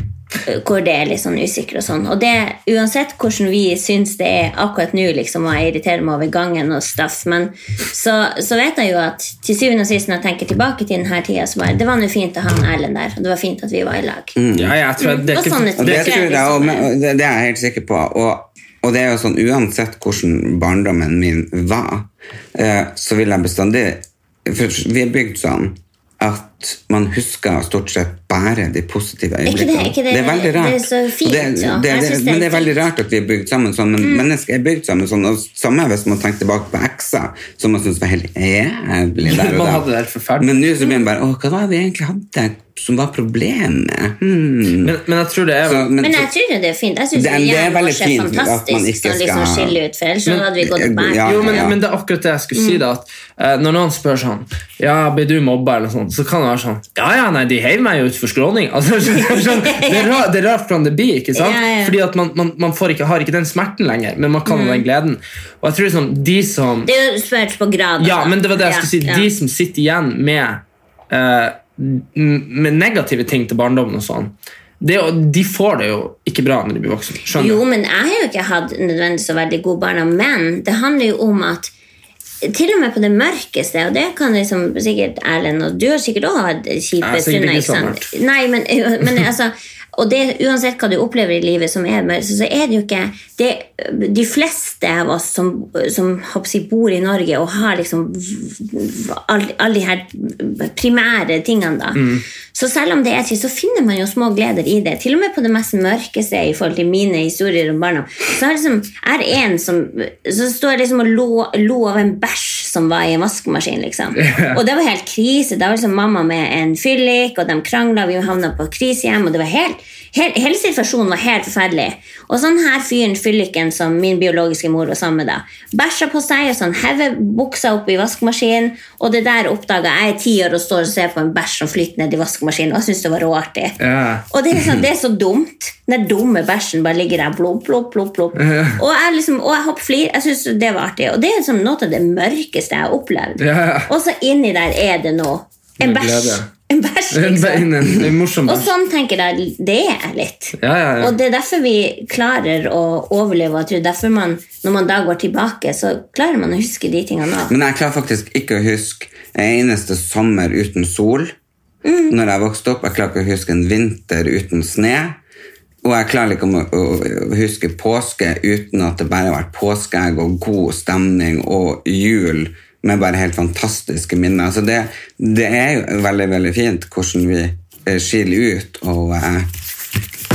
Speaker 3: hvor det er litt sånn usikker og sånn. Og det, uansett hvordan vi syns det er akkurat nå, liksom, og jeg irriterer meg over gangen og stuff, men så, så vet jeg jo at til syvende og sist når jeg tenker tilbake til denne tida, så bare Det var nå fint å ha han Erlend der, og det var fint at vi var i lag.
Speaker 2: Mm.
Speaker 1: Ja, ja, jeg tror jeg- Mm. det er
Speaker 3: Og
Speaker 1: ikke-
Speaker 3: sånne ting.
Speaker 2: Og det,
Speaker 3: Det
Speaker 2: tror
Speaker 3: er
Speaker 2: jeg, og,
Speaker 3: liksom-
Speaker 2: men- og det, det er jeg helt sikker på. Og, og det er jo sånn, uansett hvordan barndommen min var, eh, så vil jeg bestandig For vi er bygd sånn at man husker stort sett bare de positive
Speaker 3: ikke det-
Speaker 2: øyeblikkene.
Speaker 3: ikke det-
Speaker 2: er veldig rart.
Speaker 3: det er så fint,
Speaker 2: Og det,
Speaker 3: ja.
Speaker 2: det,
Speaker 3: Jeg
Speaker 2: det,
Speaker 3: synes det er
Speaker 2: men det er veldig
Speaker 3: fint. Mm.
Speaker 2: rart at vi er bygd sammen sånn, men mennesker er bygd sammen sånn. Og samme hvis man tenker tilbake på ekser, som man syns var helt jævlig der og
Speaker 1: Man
Speaker 2: da.
Speaker 1: hadde det helt forferdelig.
Speaker 2: Men nå så blir man bare Å, hva var det vi egentlig hadde som var problemet? Hmm.
Speaker 1: Men, men jeg tror det er
Speaker 2: Så, men,
Speaker 3: Men
Speaker 2: så-
Speaker 3: jeg tror jo det er fint. Jeg syns
Speaker 2: Det- det er
Speaker 3: hjernen
Speaker 2: veldig
Speaker 3: vår er
Speaker 2: fint at man ikke
Speaker 3: fantastisk å liksom
Speaker 2: skal-
Speaker 3: skille ut, for ellers så
Speaker 1: Men-
Speaker 3: hadde vi gått opp
Speaker 2: Ja,
Speaker 1: jo,
Speaker 3: her.
Speaker 1: men,
Speaker 2: ja.
Speaker 1: men det er akkurat det jeg skulle si. da at eh, Når noen spør sånn Ja, blir du mobba, eller sånn, så kan det være sånn Ja, ja, nei, de heiv meg jo utfor skråning. (laughs) Altså, sånn, det, er rart, det er rart hvordan det blir. ikke sant?
Speaker 3: Ja, ja.
Speaker 1: Fordi at man, man, man får ikke, har ikke den smerten lenger, men man kan ha den
Speaker 3: Mm.
Speaker 1: gleden. Og jeg tror liksom, de som
Speaker 3: Det er jo spørs på grad.
Speaker 1: Ja,
Speaker 3: altså.
Speaker 1: men det var det jeg
Speaker 3: Ja,
Speaker 1: skulle si.
Speaker 3: ja.
Speaker 1: De som sitter igjen med, eh, m- med negative ting til barndommen og sånn, det, er jo- de får det jo ikke bra når de blir voksne. Skjønner du?
Speaker 3: Jo, men jeg har jo ikke hatt nødvendigvis så veldig god barndom, men det handler jo om at Til og med på det mørkeste, og det kan liksom sikkert Erlend og du har sikkert òg hatt kjipe
Speaker 1: Jeg er sikkert
Speaker 3: stunder.
Speaker 1: ikke
Speaker 3: ikke
Speaker 1: så
Speaker 3: sant?
Speaker 1: mørkt.
Speaker 3: Nei, men, (laughs) men altså og det, Uansett hva du opplever i livet som er mørkt, så så er det jo ikke det, De fleste av oss som, som håper jeg, bor i Norge og har liksom v- v- alle alle de her primære tingene, da
Speaker 1: Mm.
Speaker 3: Så selv om det er trist, så finner man jo små gleder i det. Til og med på det mest mørkeste i forhold til mine historier om barna. Så er det liksom, jeg er en som så står jeg liksom og lo, lo av en bæsj som var i en vaskemaskin, liksom. Og det var helt krise. Det var liksom mamma med en fyllik, og de krangla, vi havna på krisehjem, og det var helt, helt, hele situasjonen var helt forferdelig. Og sånn her fyren, fylliken, som min biologiske mor var sammen med da, bæsja på seg og sånn hever buksa opp i vaskemaskinen, og det der oppdaga jeg i ti år og står og ser på en bæsj som flyter ned i vaskemaskinen, og jeg syns det var råartig.
Speaker 1: Ja.
Speaker 3: Og det er, sånn, det er så dumt. Den dumme bæsjen bare ligger der. Plopp, plopp, plopp, plopp. Og jeg liksom, og jeg hopp flir. Jeg syns det var artig. Og det er liksom noe av det mørkeste jeg har opplevd.
Speaker 1: Ja.
Speaker 3: Og så inni der er det noe. En
Speaker 1: Med
Speaker 3: bæsj.
Speaker 1: glede.
Speaker 3: En
Speaker 1: (laughs)
Speaker 3: bæsj,
Speaker 1: Det er en,
Speaker 3: liksom.
Speaker 1: en, en morsom
Speaker 3: Og sånn tenker jeg det er litt.
Speaker 1: Ja, ja, ja.
Speaker 3: Og det er derfor vi klarer å overleve. Og jeg tror derfor man, Når man da går tilbake, så klarer man å huske de tingene òg.
Speaker 2: Men jeg klarer faktisk ikke å huske en eneste sommer uten sol. Når jeg vokste opp, jeg klarer ikke å huske en vinter uten snø. Og jeg klarer ikke å, å, å huske påske uten at det bare har vært påskeegg og god stemning og jul med bare helt fantastiske minner. Så det, det er jo veldig, veldig fint hvordan vi eh, skiller ut og, eh,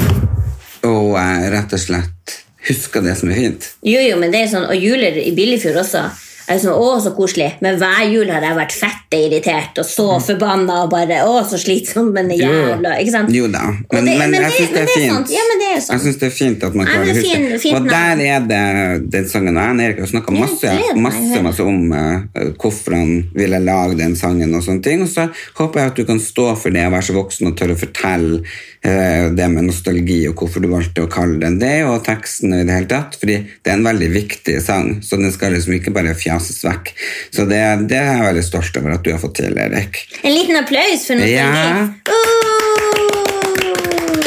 Speaker 2: og eh, rett og slett husker det som er fint.
Speaker 3: Jo, jo, men det er sånn, og juler i Billefjord også. Jeg er sånn, å, så koselig. Men hver jul har jeg vært fette irritert og så
Speaker 1: Mm.
Speaker 3: forbanna og bare Å, så slitsom, men
Speaker 1: Jo, jo.
Speaker 3: jævla Ikke sant?
Speaker 2: Jo da, men,
Speaker 3: Og det-
Speaker 2: men,
Speaker 3: men
Speaker 2: jeg
Speaker 3: det-
Speaker 2: syns det,
Speaker 3: men det
Speaker 2: er
Speaker 3: er
Speaker 2: fint.
Speaker 3: sant. Ja, men det er sant.
Speaker 2: Jeg synes det er fint at man
Speaker 3: Nei,
Speaker 2: klarer å
Speaker 3: men det er
Speaker 2: huske det.
Speaker 3: fin- fint
Speaker 2: Og
Speaker 3: navn.
Speaker 2: der er det den sangen og jeg og Erik har snakka
Speaker 3: Ja,
Speaker 2: masse,
Speaker 3: gleder meg,
Speaker 2: masse,
Speaker 3: hører.
Speaker 2: masse om eh, hvorfor han ville lage den sangen og sånne ting. Og så håper jeg at du kan stå for det og være så voksen og tørre å fortelle eh, det med nostalgi og hvorfor du valgte å kalle den det, og teksten og i det hele tatt. Fordi det er en veldig viktig sang, så den skal liksom ikke bare fjases vekk. Så det, det er jeg veldig stolt over at du har fått til, Erik.
Speaker 3: En liten applaus for nostalgi.
Speaker 2: Ja.
Speaker 3: Åh!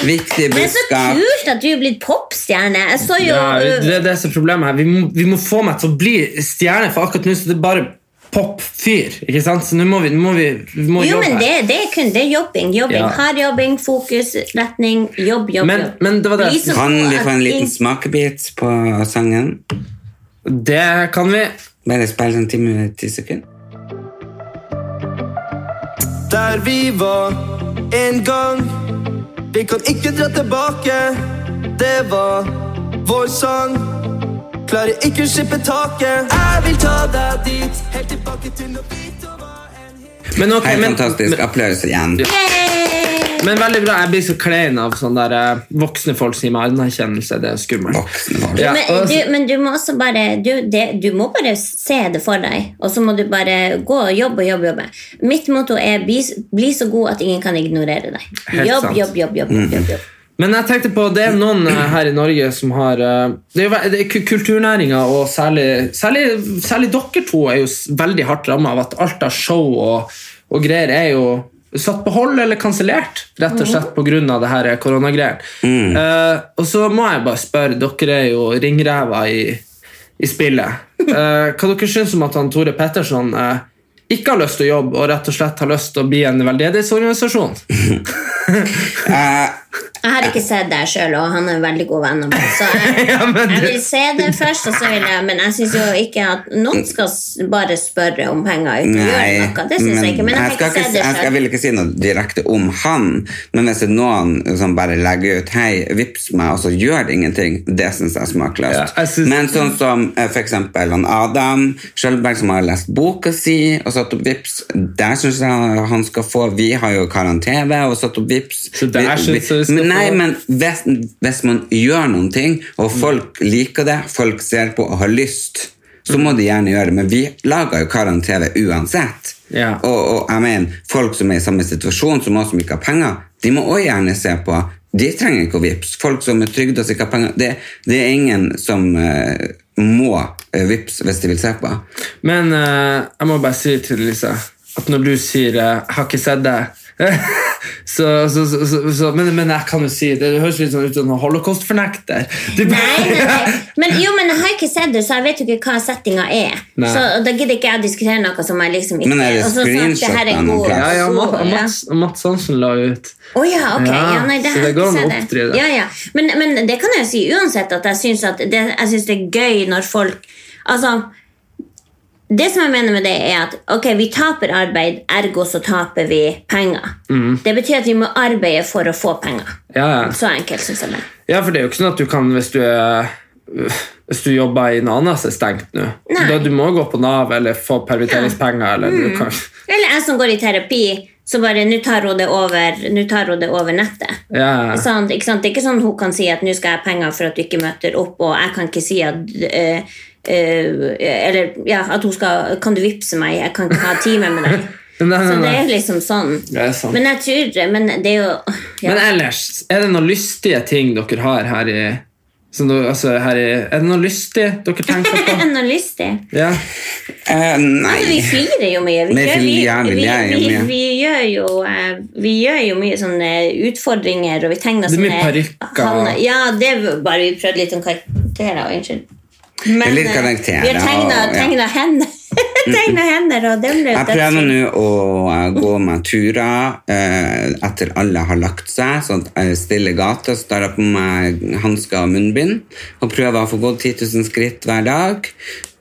Speaker 2: Viktig
Speaker 3: Det er så
Speaker 2: budskap.
Speaker 3: kult at du er blitt popstjerne. Jeg så jo
Speaker 1: Ja, det er det som er problemet her. Vi må, vi må få meg til å bli stjerne, for akkurat nå så det er bare popfyr. Ikke sant? Så nå må vi, nå må vi, vi må
Speaker 3: Jo,
Speaker 1: jobbe
Speaker 3: men
Speaker 1: her.
Speaker 3: det, det er kun det er jobbing. jobbing.
Speaker 1: Ja.
Speaker 3: Hard jobbing, fokus, retning, jobb, jobb.
Speaker 1: Men-
Speaker 3: jobb.
Speaker 1: men det var det.
Speaker 3: Bli så
Speaker 2: Kan
Speaker 3: god
Speaker 2: vi
Speaker 3: at
Speaker 2: få en liten
Speaker 3: ingen-
Speaker 2: smakebit på sangen?
Speaker 1: Det kan vi.
Speaker 2: Bare spill en time og ti sekunder.
Speaker 4: Der vi var en gang Vi kan ikke dra tilbake Det var vår sang Klarer ikke å slippe taket Jeg vil ta deg dit Helt tilbake til når vi to var en
Speaker 1: Men, ok,
Speaker 2: Helt
Speaker 1: men,
Speaker 2: fantastisk. Applaus igjen.
Speaker 3: Yay!
Speaker 1: men veldig bra. Jeg blir så klein av sånne der, eh, voksne folk som gir meg anerkjennelse. Det er skummelt.
Speaker 2: Voksne folk.
Speaker 1: Ja,
Speaker 3: men,
Speaker 1: og-
Speaker 3: du, men du må også bare du, det, du må bare se det for deg, og så må du bare gå og jobbe og jobbe. jobbe. Mitt motto er bli, bli så god at ingen kan ignorere deg.
Speaker 1: Helt
Speaker 3: Jobb,
Speaker 1: sant.
Speaker 3: jobb, jobb. jobb, jobb, jobb.
Speaker 1: Men jeg tenkte på, det er noen eh, her i Norge som har eh, Det er, jo ve- det er ku- Kulturnæringa, og særlig, særlig, særlig dere to, er jo s- veldig hardt ramma av at alt av show og, og greier er jo satt på hold eller kansellert, rett og slett pga. koronagreiene. Mm. og så må jeg bare spørre, dere er jo ringrever i, i spillet. Eh, hva dere syns om at han Tore Petterson eh, ikke har lyst til å jobbe, og rett og slett har lyst til å bli en veldedighetsorganisasjon?
Speaker 2: Eh,
Speaker 3: Jeg har ikke sett deg sjøl, og han er en veldig god venn av meg. Så jeg,
Speaker 1: Ja, men
Speaker 3: jeg
Speaker 1: det-
Speaker 3: vil se det først, og så vil jeg Men jeg syns jo ikke at noen skal s- bare spørre om penger uten å gjøre noe. Det syns jeg ikke. Men jeg har
Speaker 2: skal
Speaker 3: ikke
Speaker 2: ikke,
Speaker 3: sett det
Speaker 2: jeg, skal,
Speaker 3: sjøl.
Speaker 2: vil ikke si noe direkte om han, men hvis det er noen som bare legger ut 'hei, vips meg', og så gjør det ingenting, det syns jeg
Speaker 1: Ja,
Speaker 2: er smakløst.
Speaker 1: jeg synes-
Speaker 2: Men sånn som eh, for eksempel han Adam Skjølberg, som har lest boka si og satt opp vips, der syns jeg han skal få Vi har jo karantene og satt opp vips.
Speaker 1: Så der
Speaker 2: Vi-
Speaker 1: synes jeg vi skal
Speaker 2: Men Nei,
Speaker 1: få-
Speaker 2: men hvis, hvis man gjør noen ting, og folk liker det, folk ser på og har lyst, så må de gjerne gjøre det. Men vi lager jo Karan-TV uansett.
Speaker 1: Ja.
Speaker 2: Og, og jeg mener, folk som er i samme situasjon som oss som ikke har penger, de må også gjerne se på. De trenger ikke å vips. Folk som er trygde og som ikke har penger, det, det er ingen som eh, må eh, vips hvis de vil se på.
Speaker 1: Men eh, jeg må bare si til Lise at når du sier eh, 'jeg har ikke sett deg', (laughs) så, så, så, så, så, men, men jeg kan jo si det, det høres litt sånn ut som en holocaust-fornekter. (laughs) Du-
Speaker 3: Nei,
Speaker 2: (laughs)
Speaker 3: nei, nei. Men, jo, men jeg har ikke sett det, så jeg vet jo ikke hva settinga er.
Speaker 1: Nei.
Speaker 3: Så og Da gidder ikke jeg diskutere noe som jeg liksom ikke
Speaker 2: Men er det
Speaker 3: Og så sånn at her
Speaker 2: screenshot av noen
Speaker 3: god
Speaker 2: plass?
Speaker 1: (laughs) Ja, ja,
Speaker 3: sol,
Speaker 1: Mats,
Speaker 3: ja.
Speaker 1: Mats, Mats Hansen la ut
Speaker 3: Å ja, ok. Ja,
Speaker 1: Ja,
Speaker 3: nei, det
Speaker 1: så
Speaker 3: har
Speaker 1: det
Speaker 3: jeg
Speaker 1: går
Speaker 3: ikke
Speaker 1: an å
Speaker 3: sett.
Speaker 1: oppdrive.
Speaker 3: det. Ja, ja. Men, men det kan jeg jo si uansett, at jeg syns at det, jeg synes det er gøy når folk Altså det som jeg mener med det er at ok, vi taper arbeid, ergo så taper vi penger. Det betyr at vi må arbeide for å få penger.
Speaker 1: Mm. Ja, ja.
Speaker 3: Så enkelt, syns jeg. det.
Speaker 1: Ja, for det er jo ikke sånn at du kan Hvis du, er, hvis du jobber i en annen som er stengt nå
Speaker 3: Nei. Mm.
Speaker 1: da Du må gå på Nav eller få permitteringspenger. Eller du kan, (laughs)
Speaker 3: Eller jeg som går i terapi, så bare nå tar hun det over, nå tar hun det over nettet.
Speaker 1: ja.
Speaker 3: Sånn, ikke sant? Det er ikke sånn hun kan si at nå skal jeg ha penger for at du ikke møter opp, og jeg kan ikke si at eh, eh, Eller ja, at hun skal Kan du vippse meg? Jeg kan ikke ha time med
Speaker 1: (laughs)
Speaker 3: deg.
Speaker 1: Nei, nei,
Speaker 3: Så det
Speaker 1: nei.
Speaker 3: er liksom sånn.
Speaker 1: Det er sant.
Speaker 3: Men jeg tror Men det er jo ja.
Speaker 1: Men ellers, er det noen lystige ting dere har her i, som dere- altså her i Er det noe lystig dere tenker
Speaker 3: (laughs)
Speaker 1: på?
Speaker 3: Enn å lyste.
Speaker 1: Ja.
Speaker 2: Eh,
Speaker 3: Vi
Speaker 2: nei.
Speaker 3: flirer jo mye. Vi,
Speaker 2: Nei,
Speaker 3: gjør,
Speaker 2: for
Speaker 3: vi, vi,
Speaker 2: jævlig, jeg er jo
Speaker 3: vi,
Speaker 2: med.
Speaker 3: vi, gjør jo, eh, vi gjør jo mye sånne utfordringer, og vi tegner
Speaker 1: Det er mye
Speaker 3: sånne
Speaker 1: parykker.
Speaker 3: han- Ja, det var bare vi prøvde litt om karakterer. og Unnskyld. Men,
Speaker 2: Litt
Speaker 3: eh,
Speaker 2: karakterer,
Speaker 3: Vi har tegna,
Speaker 2: og- ja.
Speaker 3: tegna hender. (laughs) tegna hender, og det ble
Speaker 2: Jeg prøver nå å eh, gå meg turer eh, etter alle har lagt seg, sånn at jeg stiller gata, så tar jeg på meg hansker og munnbind og prøver å få gått 10 000 skritt hver dag.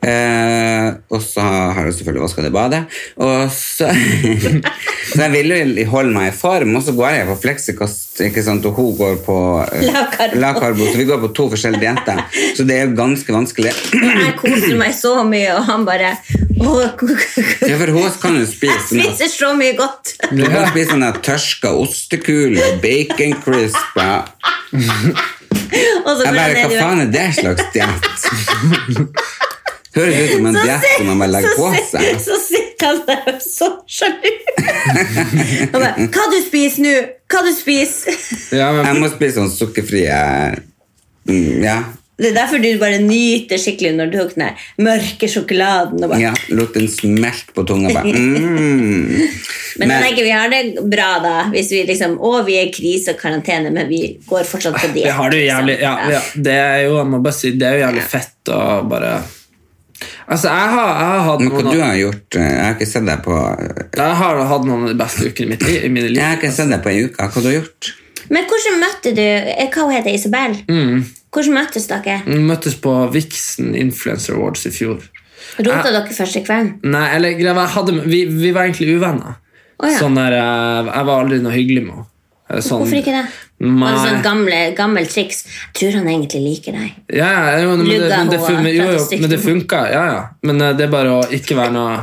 Speaker 2: Eh, og så har jeg selvfølgelig vaska det badet. Og så, (laughs) så jeg vil jo holde meg i form, og så går jeg på fleksikost, ikke sant? og hun går på eh,
Speaker 3: Lavkarbo.
Speaker 2: lavkarbo, så vi går på to forskjellige dietter. Så det er jo ganske vanskelig.
Speaker 3: Jeg koser meg så mye, og han bare «Åh,
Speaker 2: Ja, for hun kan jo spise
Speaker 3: (laughs) Jeg spiser så mye godt! (laughs)
Speaker 2: Du kan spise sånne tørska ostekuler, bacon crisper
Speaker 3: Og så
Speaker 2: Jeg bare,
Speaker 3: brenner
Speaker 2: hva
Speaker 3: du-
Speaker 2: faen er det slags diett? Høres ut som en
Speaker 3: Så
Speaker 2: diett
Speaker 3: sit-
Speaker 2: som man bare legger
Speaker 3: så
Speaker 2: på
Speaker 3: sit-
Speaker 2: seg.
Speaker 3: Så sitter han der og er så sjalu. Han bare, Hva du spiser nå? Hva du spiser?
Speaker 1: Ja, men,
Speaker 2: Jeg må spise sånn sukkerfrie mm, Ja,
Speaker 3: Det er derfor du bare nyter skikkelig når du tok den der mørke sjokoladen. Og bare,
Speaker 2: ja lot den smelte på tunga. Bare. Mm.
Speaker 3: men jeg
Speaker 2: men-
Speaker 3: tenker vi har det bra da, hvis vi liksom Å, vi er i krise og karantene, men vi går fortsatt på diett. liksom.
Speaker 1: vi har det jo jævlig ja, ja, det, er jo, jeg må bare si, det er jo jævlig fett å bare Altså, jeg har, jeg har hatt
Speaker 2: Men hva
Speaker 1: noen
Speaker 2: du
Speaker 1: av,
Speaker 2: har gjort eh, Jeg har ikke sett deg på
Speaker 1: jeg har hatt noen av de beste ukene i mitt liv. I mine
Speaker 2: Jeg
Speaker 1: liv.
Speaker 2: har ikke sett deg på en uke. Hva du har gjort?
Speaker 3: Men hvordan møtte du eh, Hva hun heter Isabel? Hvordan møttes dere?
Speaker 1: Vi møttes på Vixen Influencer Awards i fjor.
Speaker 3: Rota dere første kvelden?
Speaker 1: Nei, eller greia var- jeg hadde, vi, vi var egentlig uvenner.
Speaker 3: Å, ja.
Speaker 1: Sånn der, eh, Jeg var aldri noe hyggelig med henne. Eh, Sånn,
Speaker 3: Hvorfor ikke det?
Speaker 1: Nei.
Speaker 3: Altså, gamle, gammel triks. Jeg tror han egentlig liker deg.
Speaker 1: Ja, ja, jo, men, det,
Speaker 3: Lugga
Speaker 1: men, det,
Speaker 3: henne,
Speaker 1: men, jo,
Speaker 3: prate stygt
Speaker 1: jo, men det
Speaker 3: om henne.
Speaker 1: funka. Ja, ja. Men eh, det er bare å ikke være noe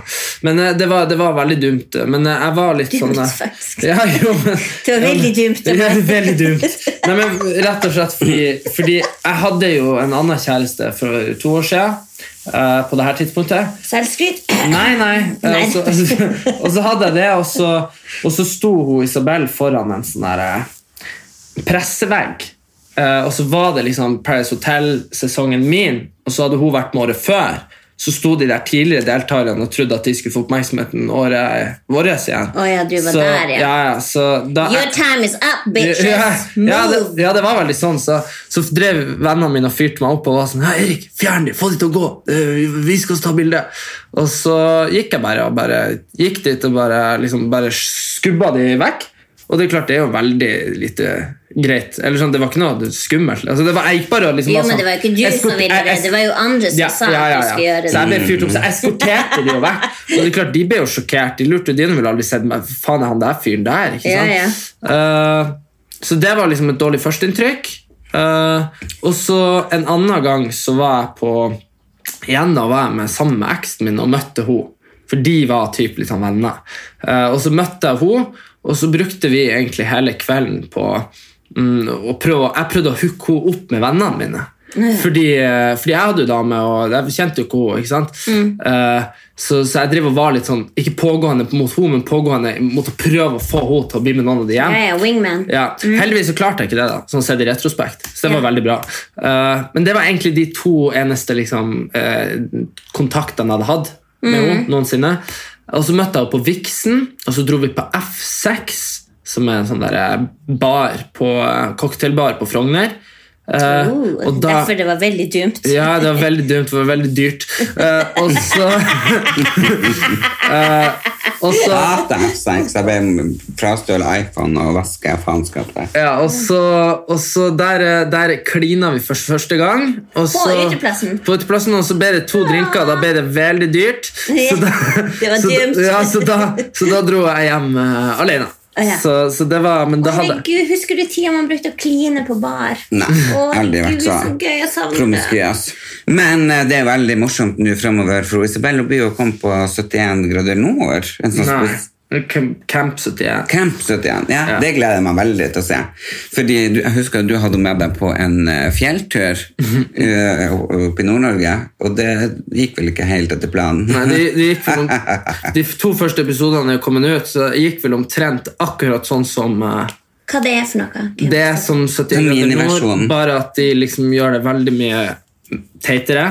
Speaker 1: Men eh, det var, det var veldig dumt. eh, Men eh, jeg var litt
Speaker 3: Dumt,
Speaker 1: sånn eh,
Speaker 3: faktisk.
Speaker 1: (laughs) Ja, jo, men,
Speaker 3: Det var veldig dumt av
Speaker 1: Ja,
Speaker 3: meg.
Speaker 1: (laughs) veldig dumt. Nei, men Rett og slett fordi, fordi jeg hadde jo en annen kjæreste for to år siden. eh, på det her tidspunktet.
Speaker 3: Selvskryt. (clears throat)
Speaker 1: Nei, nei.
Speaker 3: (laughs) Nei.
Speaker 1: Eh, Og, så, og, så, (laughs) og så hadde jeg det, og så, og så sto hun Isabel foran en sånn der eh, pressevegg. Eh, og så var det liksom Paris Hotel-sesongen min, og så hadde hun vært med året før. Så sto de der tidligere deltakerne og trodde at de skulle få oppmerksomheten året vårt igjen.
Speaker 3: Å ja, du var
Speaker 1: så,
Speaker 3: der, ja.
Speaker 1: ja, ja så da,
Speaker 3: Your time is up, bitches!
Speaker 1: ja, ja,
Speaker 3: Move!
Speaker 1: det, ja, det var veldig sånn. Så, så drev vennene mine og fyrte meg opp og var sånn Hei, Erik, fjern dem! Få dem til å gå! Eh, vi- Vi skal ta bilde! Og så gikk jeg bare og bare gikk dit og bare, liksom, bare skubba de vekk. Og det er klart, det er jo veldig lite greit. Eller sånn, Det var ikke noe skummelt. Altså, det var, jeg gikk bare og liksom
Speaker 3: Jo,
Speaker 1: var
Speaker 3: men
Speaker 1: sånn,
Speaker 3: det var jo ikke du
Speaker 1: «Jeg
Speaker 3: som
Speaker 1: skal-
Speaker 3: ville
Speaker 1: jeg-
Speaker 3: det,
Speaker 1: jeg-
Speaker 3: det var jo andre som sa at du skulle gjøre
Speaker 1: så jeg
Speaker 3: det.
Speaker 1: ble fyrt
Speaker 3: Mm.
Speaker 1: opp, så jeg eskorterte de jo vekk. Og det er klart, De ble jo sjokkert. De lurte jo, de ville aldri sett meg. Faen, er han der fyren der? ikke
Speaker 3: Ja,
Speaker 1: sant? Eh, så det var liksom et dårlig førsteinntrykk. Eh, og så en annen gang så var jeg på Igjen da var jeg med, sammen med eksen min og møtte henne. For de var typ litt sånn venner. Eh, og så møtte jeg henne, og så brukte vi egentlig hele kvelden på mm, å prøve, Jeg prøvde å hooke henne opp med vennene mine. Fordi, eh, fordi jeg hadde jo dame, og jeg kjente jo ikke henne. ikke sant? Eh, så, så jeg drev og var litt sånn, ikke pågående mot henne, men pågående mot å prøve å få henne til å bli med noen av de
Speaker 3: Ja,
Speaker 1: igjen.
Speaker 3: ja, wingman.
Speaker 1: Ja. Heldigvis så klarte jeg ikke det, da sånn sett i retrospekt. Så det var veldig bra. Eh, men det var egentlig de to eneste liksom, eh, kontaktene jeg hadde hatt med henne noensinne. Og så møtte jeg henne på Vixen, og så dro vi på F6. som er en sånn der eh, bar på, eh, cocktailbar på Frogner. Eh,
Speaker 3: Oh,
Speaker 1: og da-
Speaker 3: derfor det var veldig dumt.
Speaker 1: ja, det var veldig dumt. Det var veldig dyrt. Eh, og så (laughs) Eh, Og så
Speaker 2: Hater F6. Jeg ble frastjålet iPhone og vasker faenskap der.
Speaker 1: ja, og så, og så der, eh, der klina vi for første gang.
Speaker 3: På
Speaker 1: Og så,
Speaker 3: uteplassen.
Speaker 1: På uteplassen, Og så ble det to drinker. Da ble det veldig dyrt. Så da,
Speaker 3: (laughs) Det var
Speaker 1: (laughs) så,
Speaker 3: dumt.
Speaker 1: da- ja, så,
Speaker 3: (laughs)
Speaker 1: da, så da dro jeg hjem eh, alene.
Speaker 3: Å, ja.
Speaker 1: Så, så det var Men da hadde
Speaker 3: Herregud, husker du tida man brukte å kline på bar?
Speaker 2: Nei,
Speaker 3: Å,
Speaker 2: aldri
Speaker 3: Gud,
Speaker 2: vært så
Speaker 3: så gøy, jeg savner det.
Speaker 2: promiskuøs. Men eh, det er veldig morsomt nå fremover, for Isabel blir jo kommet på 71 grader nord. En sånn
Speaker 1: Nei.
Speaker 2: spes-
Speaker 1: Camp- Camp 71.
Speaker 2: Camp 71, ja,
Speaker 1: Ja.
Speaker 2: Det gleder jeg meg veldig til å se. Fordi du, Jeg husker at du hadde med deg på en eh, fjelltur
Speaker 1: Mhm.
Speaker 2: eh, oppe i Nord-Norge, og det gikk vel ikke helt etter planen.
Speaker 1: Nei, de, de,
Speaker 3: (laughs)
Speaker 1: gikk vel om, de to første episodene er kommet ut, så det gikk vel omtrent akkurat sånn som eh,
Speaker 3: Hva det er for noe?
Speaker 1: Det er som 71 grader nord,
Speaker 2: Miniversjonen.
Speaker 1: bare at de liksom gjør det veldig mye teitere.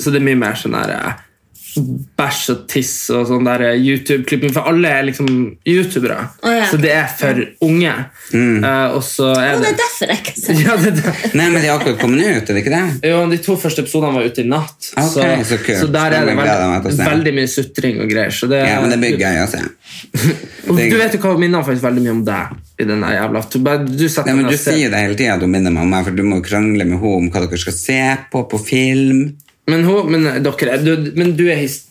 Speaker 1: Så det er mye mer sånn der eh, bæsj og tiss og sånn der eh, YouTube-klipping, for alle er liksom youtubere.
Speaker 3: Å, ja.
Speaker 1: Så det er for unge.
Speaker 2: Mm.
Speaker 1: Eh, og så er
Speaker 3: Å, det
Speaker 1: det
Speaker 3: er derfor jeg ikke sa det.
Speaker 1: (laughs) ja, det, det.
Speaker 2: Nei, men de har akkurat kommet ut, er det ikke det?
Speaker 1: Jo, De to første episodene var ute i natt,
Speaker 2: Ok,
Speaker 1: så,
Speaker 2: så kult.
Speaker 1: der
Speaker 2: Det
Speaker 1: er det
Speaker 2: gleder jeg meg til å
Speaker 1: veldig,
Speaker 2: se.
Speaker 1: veldig mye sutring og greier. Så det,
Speaker 2: Ja, men det blir gøy å se.
Speaker 1: Og
Speaker 2: Det-
Speaker 1: du vet jo hva hun minner faktisk veldig mye om deg. i den der jævla... Du, bare, du setter
Speaker 2: Nei, men
Speaker 1: deg
Speaker 2: Du
Speaker 1: og ser-
Speaker 2: sier det hele tida at hun minner meg om meg, for du må jo krangle med henne om hva dere skal se på på film.
Speaker 1: men, hun, men dere er- du, men du er his,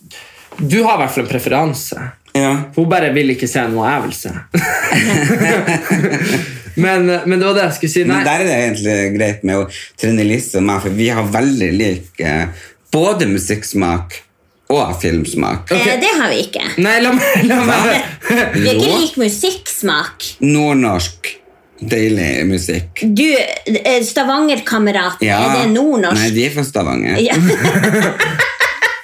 Speaker 1: Du har i hvert fall en preferanse.
Speaker 2: Ja.
Speaker 1: Hun bare vil ikke se noe jeg vil se. (laughs) men, men det var det jeg skulle si. Nei,
Speaker 2: Men der er det egentlig greit med å Trine Lise og meg, for vi har veldig lik eh, både musikksmak og filmsmak.
Speaker 1: Ok.
Speaker 3: Eh, Det har vi ikke.
Speaker 1: nei la meg, la meg.
Speaker 3: Vi har ikke
Speaker 2: Jo.
Speaker 3: lik musikksmak.
Speaker 2: Nordnorsk, deilig musikk.
Speaker 3: Du, eh, Stavanger-kamerat,
Speaker 2: Ja.
Speaker 3: er det nordnorsk?
Speaker 2: Nei, de er fra Stavanger.
Speaker 1: (laughs)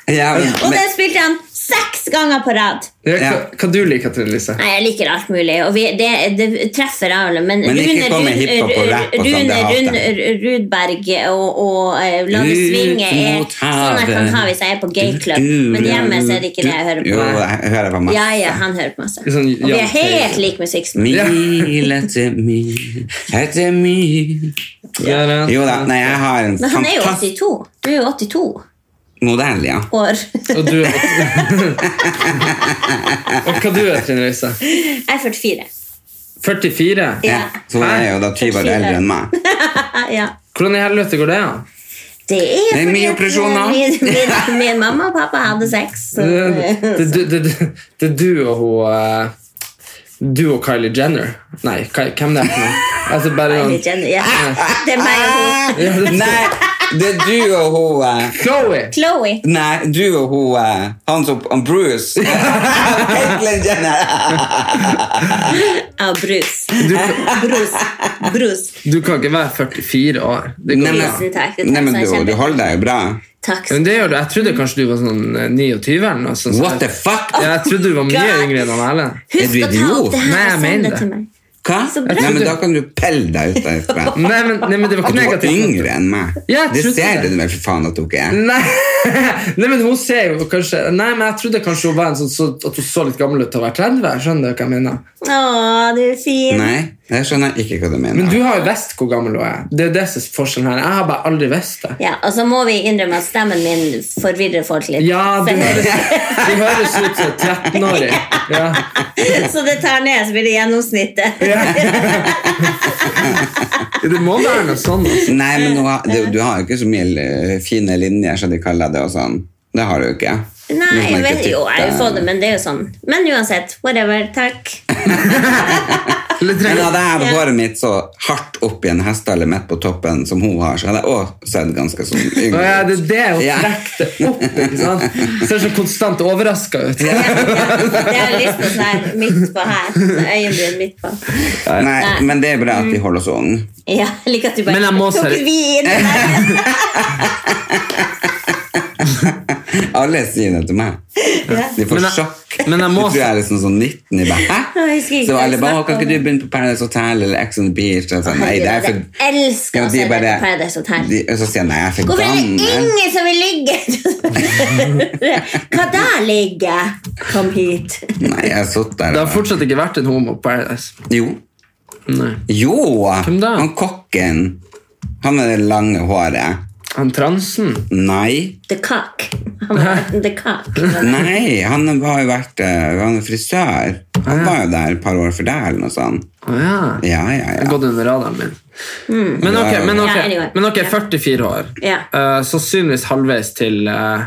Speaker 3: Ja.
Speaker 2: Ja,
Speaker 3: Og
Speaker 2: men,
Speaker 3: den spilte han seks ganger på rad.
Speaker 1: Ja, hva,
Speaker 2: Ja.
Speaker 1: hva du liker Trine Lise?
Speaker 3: Nei, Jeg liker alt mulig, og vi, det, det treffer jeg alle. Men,
Speaker 2: Men ikke kom med
Speaker 3: Rune-
Speaker 2: hiphop og rap og sånn, det
Speaker 3: Rune-
Speaker 2: hater jeg.
Speaker 3: Rune- Rudberg og, og eh, Lave
Speaker 2: Ut
Speaker 3: Svinge er
Speaker 2: mot
Speaker 3: sånn jeg kan
Speaker 2: havet.
Speaker 3: ha hvis jeg er på gayclub. Men hjemme så er det ikke det jeg hører
Speaker 2: Jo,
Speaker 3: på.
Speaker 2: jeg hører på masse.
Speaker 3: Ja, ja, han hører på masse.
Speaker 1: Sånn
Speaker 3: Og vi er
Speaker 1: jante-
Speaker 3: helt lik musikksmak.
Speaker 2: Mil etter mil etter mil Jo da, nei, jeg har en
Speaker 3: Men han er jo
Speaker 2: fantastisk
Speaker 3: 82. Du er jo 82
Speaker 2: modell, ja.
Speaker 3: år.
Speaker 1: Og du (laughs) Og hva du er, Trine Lise?
Speaker 3: Jeg er 44.
Speaker 1: 44?
Speaker 2: ja. Så hun er jo da 20 år eldre enn meg.
Speaker 3: Ja.
Speaker 1: Hvordan i helvete går det an?
Speaker 3: Det er,
Speaker 2: Det er mye
Speaker 3: fordi at
Speaker 2: operasjoner.
Speaker 3: Min, min, min mamma og pappa hadde sex. Så,
Speaker 1: Det, det, det, det, det, det er du og hun eh, Du og Kylie Jenner. Nei, Ky- hvem det er for noe? Altså bare
Speaker 3: Kylie
Speaker 1: noen
Speaker 3: Jenner, ja. Det er meg og hun.
Speaker 2: Ah, Nei, det er du og hun eh,
Speaker 1: Chloé!
Speaker 3: Chloé.
Speaker 2: Nei, du og hun eh, Han som han (laughs) Bruce. Caitlyn Jenner.
Speaker 3: Ja, brus.
Speaker 1: Du,
Speaker 3: Brus. Brus.
Speaker 1: du kan ikke være 44 år. Det går ikke
Speaker 2: Nei, men-
Speaker 1: an.
Speaker 3: Tusen takk. Det
Speaker 2: Nei, men
Speaker 3: takk,
Speaker 2: du,
Speaker 3: sånn
Speaker 2: du holder deg jo bra.
Speaker 3: Takk.
Speaker 1: Men det gjør du. Jeg trodde kanskje du var sånn eh, 29 eller noe sånt.
Speaker 2: What the fuck?
Speaker 1: Ja, jeg trodde du var mye
Speaker 3: God.
Speaker 1: yngre enn han Erlend.
Speaker 2: Er du
Speaker 3: Husk å ta
Speaker 2: idiot?
Speaker 3: opp det
Speaker 1: Nei,
Speaker 3: her og
Speaker 1: jeg
Speaker 3: sende
Speaker 1: mener
Speaker 3: det
Speaker 1: det.
Speaker 3: til meg.
Speaker 2: Hva?
Speaker 3: Så bra.
Speaker 2: Nei, men da kan du pelle deg ut derfra.
Speaker 1: Nei, men, nei, men det var ikke
Speaker 2: At du var
Speaker 1: negativt.
Speaker 2: yngre enn meg.
Speaker 1: Ja, jeg
Speaker 2: Det
Speaker 1: trodde
Speaker 2: ser
Speaker 1: det.
Speaker 2: du vel for faen at du ikke er.
Speaker 1: Nei. nei, (laughs) men hun ser jo kanskje Nei, men jeg trodde kanskje hun var en sånn så, at hun så litt gammel ut til å være 30. Skjønner du hva jeg mener?
Speaker 3: Å, du er fin.
Speaker 2: Nei, jeg skjønner ikke hva du mener.
Speaker 1: Men du har jo visst hvor gammel hun er. Det er det som er forskjellen her. Jeg har bare aldri visst det.
Speaker 3: Ja, og så må vi innrømme at stemmen min forvirrer folk litt.
Speaker 1: Ja, du høres, du høres ut som en 13-åring. Ja.
Speaker 3: (laughs)
Speaker 2: (laughs)
Speaker 3: Så det tar ned, så blir det gjennomsnittet.
Speaker 1: Det må være noe sånn. altså.
Speaker 2: Nei, men nå, har- du, du har jo ikke så mye eh, fine linjer, som de kaller det. og sånn. Det har du jo ikke.
Speaker 3: Nei,
Speaker 1: Oh
Speaker 2: Hvis man
Speaker 3: jeg
Speaker 2: ikke
Speaker 3: vet jo, jeg har jo
Speaker 2: titter.
Speaker 3: fått det, men det er jo sånn. Men uansett, whatever.
Speaker 1: (laughs)
Speaker 3: Takk.
Speaker 1: Eller
Speaker 2: Men
Speaker 1: trenger-
Speaker 2: hadde jeg hatt håret mitt så hardt opp i en hestehale midt på toppen som hun har, så hadde jeg òg sett ganske
Speaker 1: (laughs)
Speaker 2: sånn
Speaker 1: Å
Speaker 2: yngre
Speaker 1: ja, det
Speaker 2: ut.
Speaker 1: er det hun
Speaker 2: Ja.
Speaker 1: trekker det opp. ikke sant? Ser så konstant overraska ut.
Speaker 3: Det har jeg lyst til å sånn midt på her. så Øyenbryn midt på.
Speaker 2: Nei, men det er bra
Speaker 3: Mm.
Speaker 2: at de holder oss unge.
Speaker 3: Ja, jeg liker at du bare
Speaker 1: Men jeg må
Speaker 3: tok
Speaker 1: seri-
Speaker 3: vi inn i det.
Speaker 2: Alle sier det til meg. De får
Speaker 1: Men jeg-
Speaker 2: sjokk.
Speaker 1: Men jeg
Speaker 2: Du
Speaker 1: må
Speaker 2: tror jeg er liksom sånn 19 i bare,
Speaker 3: (laughs) Jeg
Speaker 2: Hæ?
Speaker 3: husker ikke
Speaker 2: Så
Speaker 3: hva
Speaker 2: alle
Speaker 3: jeg
Speaker 2: bare,
Speaker 3: snakket
Speaker 2: kan ikke du begynne på Paradise Hotel eller Ex on the Beach? Og sånn, nei, det er for...
Speaker 3: Jeg elsker å
Speaker 2: Ja, de
Speaker 3: se
Speaker 2: bare-
Speaker 3: deg på Paradise Hotel.
Speaker 2: de- Og så sier jeg, nei, jeg er for
Speaker 3: Hvorfor er det
Speaker 2: gammel.
Speaker 3: ingen som vil ligge? Hva da ligge? Kom hit.
Speaker 2: Nei, jeg har sittet der.
Speaker 1: Det har
Speaker 2: og-
Speaker 1: fortsatt ikke vært en homo på Paradise.
Speaker 2: Jo.
Speaker 1: Nei.
Speaker 2: Jo!
Speaker 1: Hvem da?
Speaker 2: Han kokken. Han med det lange håret.
Speaker 1: Han transen
Speaker 2: Nei.
Speaker 3: The cock. Han
Speaker 2: (laughs)
Speaker 3: var the cock.
Speaker 2: Nei, han har jo vært eh, Han er frisør.
Speaker 1: Ah,
Speaker 2: Han var jo der et par år før deg, eller noe sånt.
Speaker 1: Å ja.
Speaker 2: Ja, ja,
Speaker 1: Jeg har
Speaker 2: ja.
Speaker 1: gått under radaren min. Men ok, men ok,
Speaker 3: Mm. Ja, anyway.
Speaker 1: men ok,
Speaker 3: Ja.
Speaker 1: 44 år.
Speaker 3: Ja.
Speaker 1: Eh, sannsynligvis halvveis til, eh,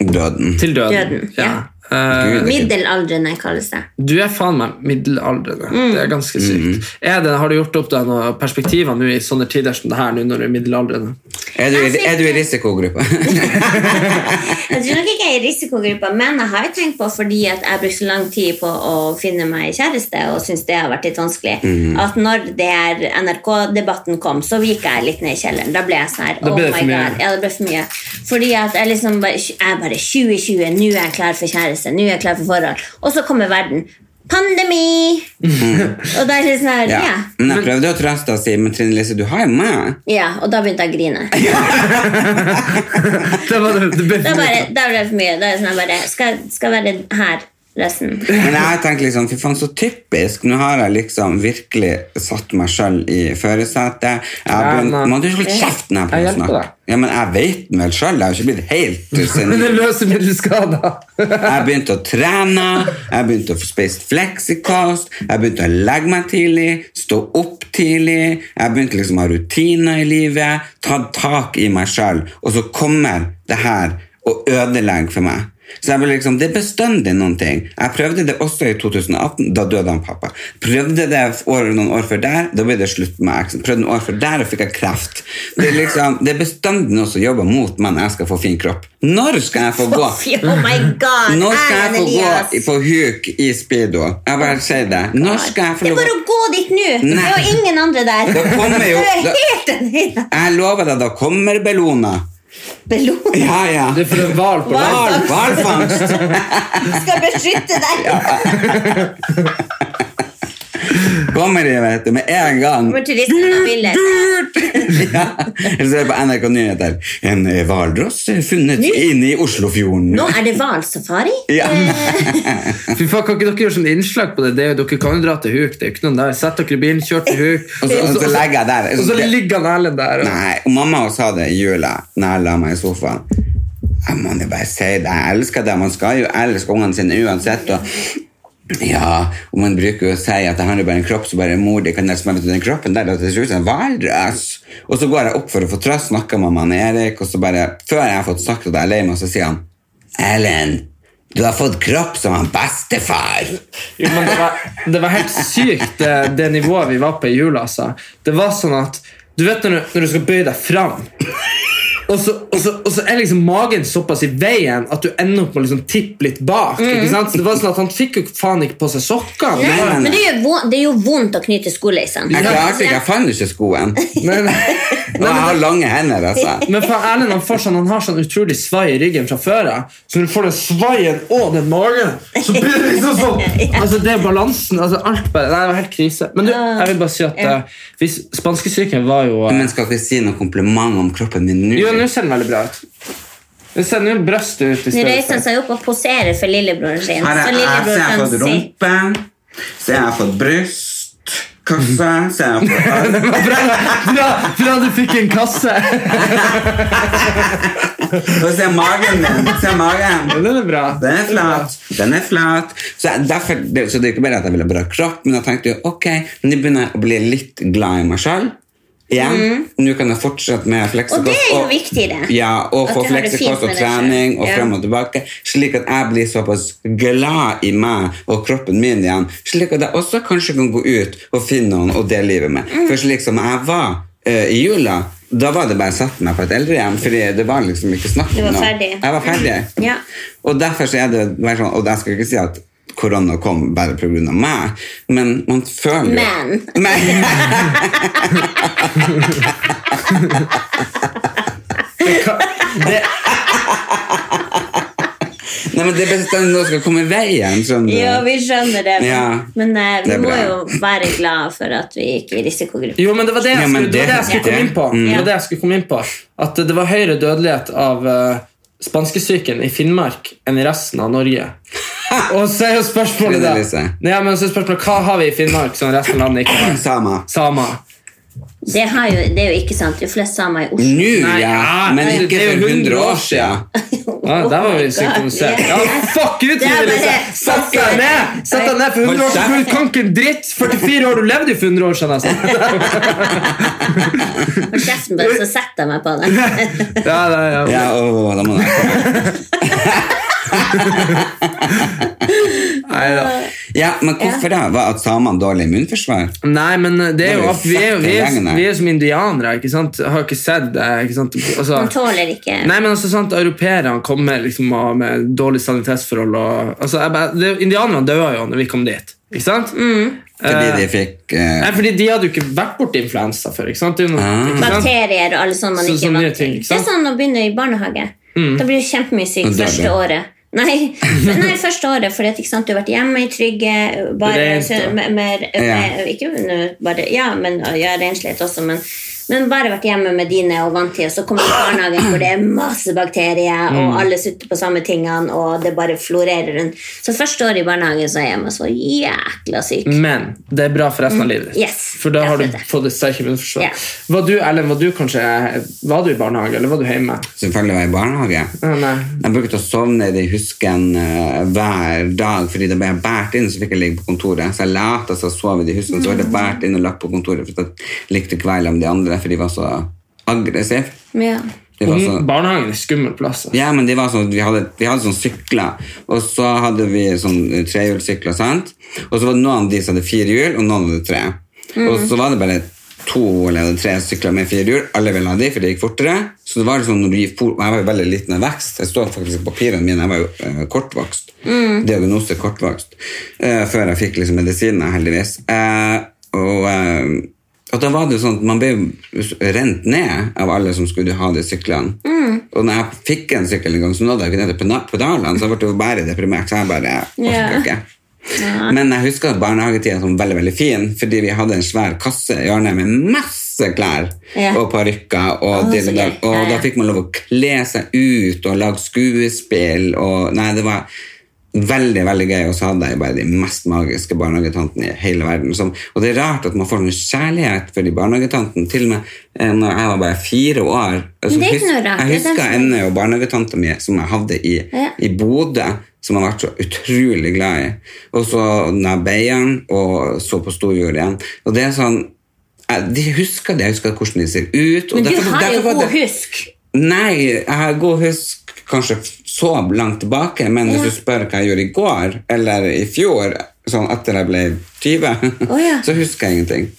Speaker 2: Døden.
Speaker 1: til døden.
Speaker 3: Døden,
Speaker 1: Eh,
Speaker 2: Gud, det er ikke-
Speaker 3: Middelaldrende kalles det.
Speaker 1: Du er faen meg middelaldrende.
Speaker 3: Mm.
Speaker 1: Det er ganske
Speaker 2: Mhm.
Speaker 1: sykt. Er det, har du gjort opp deg noen perspektiver nå i sånne tider som det her nå når du er middelaldrende? (laughs)
Speaker 2: Er du, i- er du i risikogruppa?
Speaker 3: Jeg tror nok ikke jeg er i risikogruppa, men jeg har jo tenkt på, fordi at jeg brukte så lang tid på å finne meg kjæreste, og syns det har vært litt vanskelig,
Speaker 1: Mm.
Speaker 3: at når det her NRK-debatten kom, så gikk jeg litt ned i kjelleren. Da ble jeg sånn her
Speaker 1: Da ble
Speaker 3: Oh
Speaker 1: det
Speaker 3: my
Speaker 1: for mye.
Speaker 3: god. Ja, det ble for mye. Fordi at jeg liksom bare, jeg bare 2020, nå er jeg klar for kjæreste, nå er jeg klar for forhold. Og så kommer verden. Pandemi!
Speaker 1: Mm.
Speaker 3: og da er det sånn her,
Speaker 2: (laughs) Ja.
Speaker 3: ja.
Speaker 2: Men jeg prøvde å trøste og si Men Trine Lise, du har jo meg.
Speaker 3: ja. Og da begynte jeg å grine.
Speaker 1: Det var det, det ble
Speaker 3: Da, bare, da ble det for mye. Da er det sånn jeg bare skal, skal være her resten.
Speaker 2: Men jeg har tenkt liksom, fy faen, så typisk. Nå har jeg liksom virkelig satt meg sjøl i førersetet. Jeg har
Speaker 1: Ja,
Speaker 2: begynt-
Speaker 1: men-
Speaker 2: Man, du skal holde kjeften her på
Speaker 1: Jeg
Speaker 2: å
Speaker 1: hjelper
Speaker 2: snakke.
Speaker 1: deg.
Speaker 2: Ja, men jeg vet den vel sjøl. Jeg har ikke blitt
Speaker 1: (laughs)
Speaker 2: helt
Speaker 1: Men det
Speaker 2: sinnssyk.
Speaker 1: løser middelskader.
Speaker 2: Jeg begynte å trene, jeg begynte å få spist fleksikost, jeg begynte å legge meg tidlig, stå opp tidlig, jeg begynte liksom å ha rutiner i livet, ta tak i meg sjøl, og så kommer det her og ødelegger for meg. Så jeg ble liksom, Det er bestandig noen ting. Jeg prøvde det også i 2018. Da døde han pappa. Prøvde det år, noen år før der, da ble det slutt med eksen. Prøvde noen år før der, og fikk jeg kreft. Det er liksom, det er bestandig noen som jobber mot meg når jeg skal få fin kropp. Når skal jeg få gå?
Speaker 3: (laughs) Fy, Oh my god!
Speaker 2: Nå skal jeg
Speaker 3: Erlend
Speaker 2: få
Speaker 3: Elias.
Speaker 2: gå i- på huk i speedo. Jeg bare sier det. Nå skal jeg få
Speaker 3: Det er
Speaker 2: lov
Speaker 3: bare å gå dit nå! Det
Speaker 2: Nei.
Speaker 3: er jo ingen andre der.
Speaker 2: Da kommer
Speaker 3: (laughs)
Speaker 2: jo-
Speaker 3: Du er
Speaker 2: da-
Speaker 3: helt alene.
Speaker 2: Jeg lover deg, da kommer Bellona.
Speaker 3: Bellona
Speaker 2: Ja, ja.
Speaker 1: Det er for en hval på land.
Speaker 2: Hval- Hvalfangst!
Speaker 3: skal beskytte deg!
Speaker 2: Kommer de, vet du, med en gang.
Speaker 3: Kommer turistene og bilder.
Speaker 2: (laughs) Ja. Eller så er det på NRK Nyheter. En eh, hvalross eh, funnet inne i Oslofjorden.
Speaker 3: Nå er det Eh, hvalsafari.
Speaker 2: Ja.
Speaker 1: Fy faen, Kan ikke dere gjøre sånn innslag på det? det er jo, dere kan jo dra til Huk. det er jo ikke noen der. Sett dere i bilen, kjør til Huk.
Speaker 2: Og så, og så legger jeg der.
Speaker 1: og så ligger han Erlend der. Og,
Speaker 2: Nei, og mamma også sa det i jula Når jeg la meg i sofaen Jeg må jo bare si det, jeg elsker det Man skal jo elske ungene sine uansett og ja, og man bruker jo å si at det handler bare om en kropp Så bare mor, det kan jeg smelle til den kroppen der Det ser ut som en valrøs Og så går jeg opp for å få trøst, snakker med mamma Erik Og så bare, før jeg har fått snakket at jeg er lei meg Så sier han, Ellen Du har fått kropp som han bestefar
Speaker 1: jo, men det, var, det var helt sykt, det, det nivået vi var på i jula. Altså. Det var sånn at Du vet når du, når du skal bøye deg fram, og så, og, så, og så er liksom magen såpass i veien at du ender opp med å liksom tippe litt bak. Ikke sant? Så det var sånn at Han fikk jo faen ikke på seg sokkene. Det var-
Speaker 3: (laughs)
Speaker 2: nei,
Speaker 3: Men
Speaker 2: nei.
Speaker 3: det gjør vondt- det gjør vondt å knyte liksom. skoleisen.
Speaker 2: Jeg klarte ikke, jeg fant ikke skoen
Speaker 1: Nei, nei.
Speaker 2: Og jeg har lange hender altså
Speaker 1: Men for Erlend han, får sånn, han har sånn utrolig svai i ryggen fra før av. Så når du får den svaien og den magen, så blir det liksom
Speaker 3: (laughs)
Speaker 1: sånn Altså Det er balansen. altså alt bare, nei, Det var helt krise. Men du, jeg vil bare si at eh, hvis spanskesyken var jo eh,
Speaker 2: Men skal ikke si noen kompliment om kroppen min nå?
Speaker 1: Jo, nå ser den veldig bra ut. Den ser nå brøstet ut.
Speaker 3: Nå
Speaker 1: i stedet
Speaker 3: reiser han
Speaker 1: for.
Speaker 3: seg opp og poserer for lillebroren sin.
Speaker 2: Her
Speaker 3: Så
Speaker 2: er jeg, så jeg
Speaker 3: lillebroren
Speaker 2: har
Speaker 3: kan si
Speaker 2: fått rumpe, så jeg har fått brystkasse, så jeg har fått alt.
Speaker 1: (laughs) Fra, fra, fra du fikk en kasse!
Speaker 2: Og se magen min, se magen.
Speaker 1: Den er bra.
Speaker 2: Den er flat, den er flat. Så, jeg, derfor, det, så det er ikke bare at jeg ville bra kropp, men jeg tenkte jo, ok, nå begynner jeg å bli litt glad i meg selv. Igjen. Nå kan jeg fortsette med fleksikost.
Speaker 3: Mm. Og det er jo viktigere.
Speaker 2: Ja, og
Speaker 3: At
Speaker 2: få
Speaker 3: du har det fint
Speaker 2: fleksikost
Speaker 3: med
Speaker 2: og
Speaker 3: deg selv.
Speaker 2: trening og
Speaker 3: Ja.
Speaker 2: frem og tilbake, slik at jeg blir såpass glad i meg og kroppen min igjen, slik at jeg også kanskje kan gå ut og finne noen å dele livet med.
Speaker 3: Mm.
Speaker 2: For slik som jeg var eh, i jula, da var det bare å sette meg på et eldrehjem, fordi det var liksom ikke snakk
Speaker 3: Du
Speaker 2: om
Speaker 3: var
Speaker 2: noe.
Speaker 3: ferdig.
Speaker 2: Jeg var ferdig.
Speaker 3: Mm. Ja.
Speaker 2: Og derfor så er det bare sånn, og jeg skal ikke si at korona kom bare på grunn av meg, men man føler jo...
Speaker 3: Men.
Speaker 2: Men. (laughs)
Speaker 1: Det,
Speaker 2: Nei, men det er best at noe skal komme i veien, skjønner du.
Speaker 3: Jo, vi skjønner det, men,
Speaker 2: Ja.
Speaker 3: men eh, vi
Speaker 2: Det er
Speaker 3: må
Speaker 2: bra.
Speaker 3: jo være glad for at vi ikke er i risikogruppe.
Speaker 1: Jo, men det var det jeg
Speaker 2: Ja, men
Speaker 1: skulle, det, var
Speaker 2: det-
Speaker 1: det jeg skulle komme
Speaker 2: det-
Speaker 1: inn på.
Speaker 2: mm.
Speaker 1: Det var det jeg skulle komme inn på. At det var høyere dødelighet av eh, spanskesyken i Finnmark enn i resten av
Speaker 2: (laughs)
Speaker 1: Norge. Og så er jo spørsmålet da
Speaker 2: Lise.
Speaker 1: Nei, ja, men så er spørsmålet, Hva har vi i Finnmark som resten av landet ikke har?
Speaker 2: Sama.
Speaker 1: Samer.
Speaker 3: Det, har jo, det er jo ikke sant. Det er jo flest samer i Oslo.
Speaker 2: Nå,
Speaker 1: Nei,
Speaker 2: ja.
Speaker 1: ja,
Speaker 2: Men
Speaker 1: det- det
Speaker 2: ikke
Speaker 1: er jo
Speaker 2: for 100 år
Speaker 1: 100
Speaker 2: siden.
Speaker 1: Ja, der var
Speaker 3: Oh
Speaker 1: vi
Speaker 3: my God.
Speaker 1: synkronisert. Ja,
Speaker 3: Ja.
Speaker 1: fuck ut
Speaker 3: Det
Speaker 1: med
Speaker 3: er
Speaker 1: det, Lise!
Speaker 3: bare-
Speaker 1: Sett deg ned! Sett deg ned for 100 år siden! Du kan ikke en dritt! 44 år, du levde jo for 100 år sånn. siden,
Speaker 2: (laughs)
Speaker 1: nesten.
Speaker 3: Hold kjeften på det, så setter jeg meg på det.
Speaker 1: Ja, ja, ja.
Speaker 2: Ja, å, da må jeg.
Speaker 1: Neida.
Speaker 2: ja, men hvorfor da? Var at samene dårlig immunforsvar?
Speaker 1: Nei, men det er
Speaker 2: Det er
Speaker 1: jo
Speaker 2: jo
Speaker 1: at vi er, jo- vi er,
Speaker 2: fucking gjengene.
Speaker 1: vi er som indianere, ikke sant? Jeg har ikke sett det, ikke sant? (laughs)
Speaker 3: Man
Speaker 1: Altså,
Speaker 3: tåler ikke
Speaker 1: nei, men altså, sant, europeerne kommer liksom av- med dårlig sanitetsforhold og... Altså, jeg, bare- det, indianerne døde jo når vi kom dit, ikke sant?
Speaker 3: Mm.
Speaker 2: Fordi de fikk eh,
Speaker 1: Nei, fordi de hadde jo ikke vært borti influensa før, ikke sant? Det er jo
Speaker 2: Ah.
Speaker 1: noe- ikke sant?
Speaker 3: bakterier og alle sånne man
Speaker 1: Så-
Speaker 3: ikke er
Speaker 1: sånne
Speaker 3: vant til.
Speaker 1: ting, ikke
Speaker 3: Det er
Speaker 1: sant? Mm.
Speaker 3: sånn å begynne i barnehage. Da blir du kjempemye syk
Speaker 2: Og dør
Speaker 3: første
Speaker 2: du.
Speaker 3: året. Nei, (laughs) men nei, første året, for ikke sant, du har vært hjemme i trygge bare,
Speaker 1: Rent,
Speaker 3: så,
Speaker 1: ja.
Speaker 3: med, med, med, Ikke nå bare Ja, men ja, renslighet også, men, men bare vært hjemme med dine og vant til, og så kommer du i barnehagen hvor det er masse bakterier,
Speaker 1: Mm.
Speaker 3: og alle sutter på samme tingene, og det bare florerer rundt. Så første året i barnehagen så er jeg meg så jækla syk.
Speaker 1: Men det er bra for resten av livet ditt.
Speaker 3: Mm. Yes,
Speaker 1: for da
Speaker 3: jeg
Speaker 1: har du
Speaker 3: føler det.
Speaker 1: fått et sterkt immunforsvar.
Speaker 3: Ja.
Speaker 1: Var du, Ellen, var du kanskje Var du i barnehage, eller var du hjemme?
Speaker 2: selvfølgelig var i barnehage.
Speaker 1: Ja, nei.
Speaker 2: Jeg brukte å sovne i de husken eh, hver dag, fordi da ble jeg båret inn, så fikk jeg ligge på kontoret. Så jeg lot som jeg sov i de husken, så ble jeg båret inn og lagt på kontoret, for jeg likte ikke å være sammen med de andre, for de var så aggressive.
Speaker 1: Mm.
Speaker 3: Ja.
Speaker 2: De var så
Speaker 1: Ung- Barnehagen er skummel plass. altså.
Speaker 2: Ja, men det var sånn, vi hadde, vi hadde sånn sykler, og så hadde vi sånn eh, trehjulssykler, sant? Og så var det noen av de som hadde fire hjul, og noen hadde tre. Og så var det bare to eller tre sykler med fire hjul, alle ville ha de, for det gikk fortere. Så det var liksom, når du gikk for, og jeg var jo veldig liten av vekst, jeg står faktisk på papirene mine, jeg var jo eh, kortvokst. Diagnose kortvokst. Eh, før jeg fikk liksom medisiner, heldigvis. Eh, og... eh, og da var det jo sånn at Man ble jo rent ned av alle som skulle ha de syklene.
Speaker 3: Mm.
Speaker 2: Og når jeg fikk en sykkel en gang, så nådde jeg ikke ned til pena- pedalene. Så jeg ble jo bare deprimert. Så jeg bare orka
Speaker 3: Ja.
Speaker 2: ikke. Men jeg husker at barnehagetida som veldig veldig fin, fordi vi hadde en svær kasse i hjørnet med masse klær
Speaker 3: Ja.
Speaker 2: og parykker. Og,
Speaker 3: Å,
Speaker 2: dill
Speaker 3: så
Speaker 2: og, dall.
Speaker 3: gøy. Ja,
Speaker 2: og da
Speaker 3: ja.
Speaker 2: fikk man lov å kle seg ut og lage skuespill. Og, nei, det var veldig veldig gøy, og så hadde jeg bare de mest magiske barnehagetantene i hele verden. Som, og det er rart at man får noen kjærlighet for de barnehagetantene. Til og med eh, når jeg var bare fire år
Speaker 3: Men det er
Speaker 2: så
Speaker 3: ikke noe rart,
Speaker 2: Jeg
Speaker 3: det er dem
Speaker 2: husker
Speaker 3: som-
Speaker 2: ennå jo barnehagetanta mi som jeg hadde i,
Speaker 3: Ja.
Speaker 2: i Bodø, som jeg har vært så utrolig glad i. Og så Nabeieren, og så på Storjord igjen. Og det er sånn jeg, de husker det, jeg husker hvordan de ser ut. og
Speaker 3: Men du
Speaker 2: derfor-
Speaker 3: har jo
Speaker 2: derfor var
Speaker 3: god
Speaker 2: det-
Speaker 3: husk.
Speaker 2: Nei, jeg har god husk kanskje så langt tilbake, men hvis du spør hva jeg gjorde i går, eller i fjor, sånn etter jeg ble 20,
Speaker 3: Å, ja.
Speaker 2: (laughs) så husker jeg ingenting.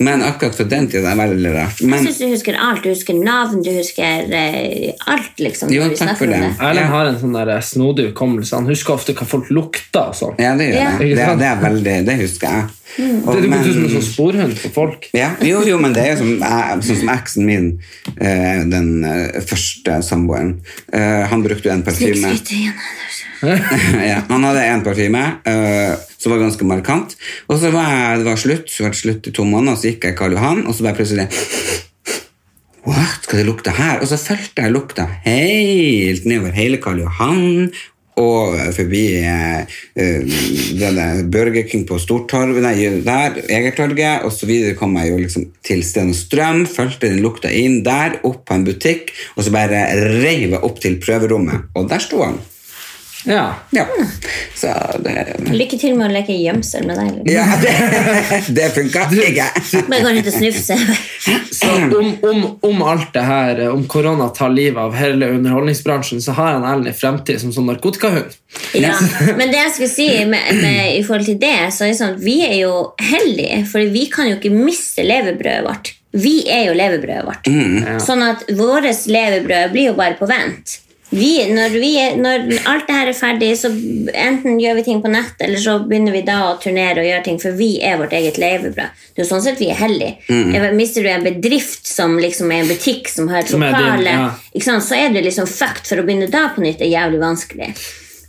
Speaker 2: Men akkurat for den tiden er det veldig rart.
Speaker 3: Jeg
Speaker 2: Men,
Speaker 3: syns du husker alt. Du husker navn, du husker eh, alt, liksom.
Speaker 2: Jo,
Speaker 3: når vi
Speaker 2: takk
Speaker 3: snakker
Speaker 2: for
Speaker 3: om
Speaker 2: det.
Speaker 1: Erlend
Speaker 2: Ja.
Speaker 1: har en sånn der eh, snodig hukommelse. Han husker ofte hva folk lukter. og sånn.
Speaker 2: ja, det gjør
Speaker 3: Ja. Mm.
Speaker 2: jeg. Det, det, er veldig, det husker jeg. Og-
Speaker 1: Det er jo
Speaker 2: men-
Speaker 1: du som en sånn sporhund på folk.
Speaker 2: Ja, jo, jo, men det er jo som, jeg- sånn som eksen min, eh, den eh, første samboeren. Eh, Han brukte jo en
Speaker 3: Slik
Speaker 2: parfyme.
Speaker 3: skryter igjen.
Speaker 2: (laughs) ja, han hadde en parfyme eh, som var ganske markant. Og så var jeg, det var slutt, så var det slutt i to måneder, så gikk jeg i Karl Johan, og så bare plutselig What? Skal det lukte her? Og så fulgte jeg lukta helt nedover hele Karl Johan. Og forbi eh, eh, denne Burger King på Stortorvet, nei, der, Egertorget, og så videre kom jeg jo liksom til Stenstrøm, fulgte den lukta inn der, opp på en butikk, og så bare reiv jeg opp til prøverommet, og der sto han.
Speaker 1: Ja.
Speaker 2: Ja. Så det
Speaker 3: Lykke til med å leke gjemsel med deg. Liksom.
Speaker 2: ja, det, (laughs) det funka ikke.
Speaker 3: Bare gå rundt og snufse.
Speaker 2: (laughs)
Speaker 1: Så om, om, om alt det her, eh, om korona tar livet av hele underholdningsbransjen, så har han Erlend en fremtid som sånn narkotikahund.
Speaker 3: Ja. Men det jeg skulle si med, med, i forhold til det, så er det sånn vi er jo heldige, for vi kan jo ikke miste levebrødet vårt. Vi er jo levebrødet vårt. Sånn at vårt levebrød blir jo bare på vent. Vi, når, vi, er- når alt det her er ferdig, så enten gjør vi ting på nett, eller så begynner vi da å turnere og gjøre ting, for vi er vårt eget levebrød. Det er jo sånn sett vi er heldige. Jeg- Mister du en bedrift som liksom er en butikk som har et
Speaker 1: Som er din,
Speaker 3: lokale,
Speaker 1: ja.
Speaker 3: ikke sant? så er det liksom fucked for å begynne da på nytt er jævlig vanskelig.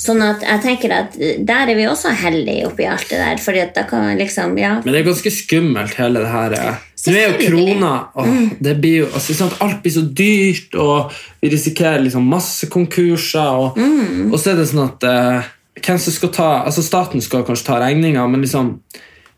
Speaker 3: Sånn at jeg tenker at eh, der er vi også heldige oppi alt det der. Fordi at da kan man liksom, ja
Speaker 1: Men det er ganske skummelt, hele det her. eh. Nå er jo
Speaker 3: Selvfølgelig.
Speaker 1: krona åh, det blir jo, altså, sant, Alt blir så dyrt, og vi risikerer liksom masse konkurser. Og,
Speaker 3: Mm.
Speaker 1: og så er det sånn at eh, hvem som skal ta altså Staten skal kanskje ta regninga, men liksom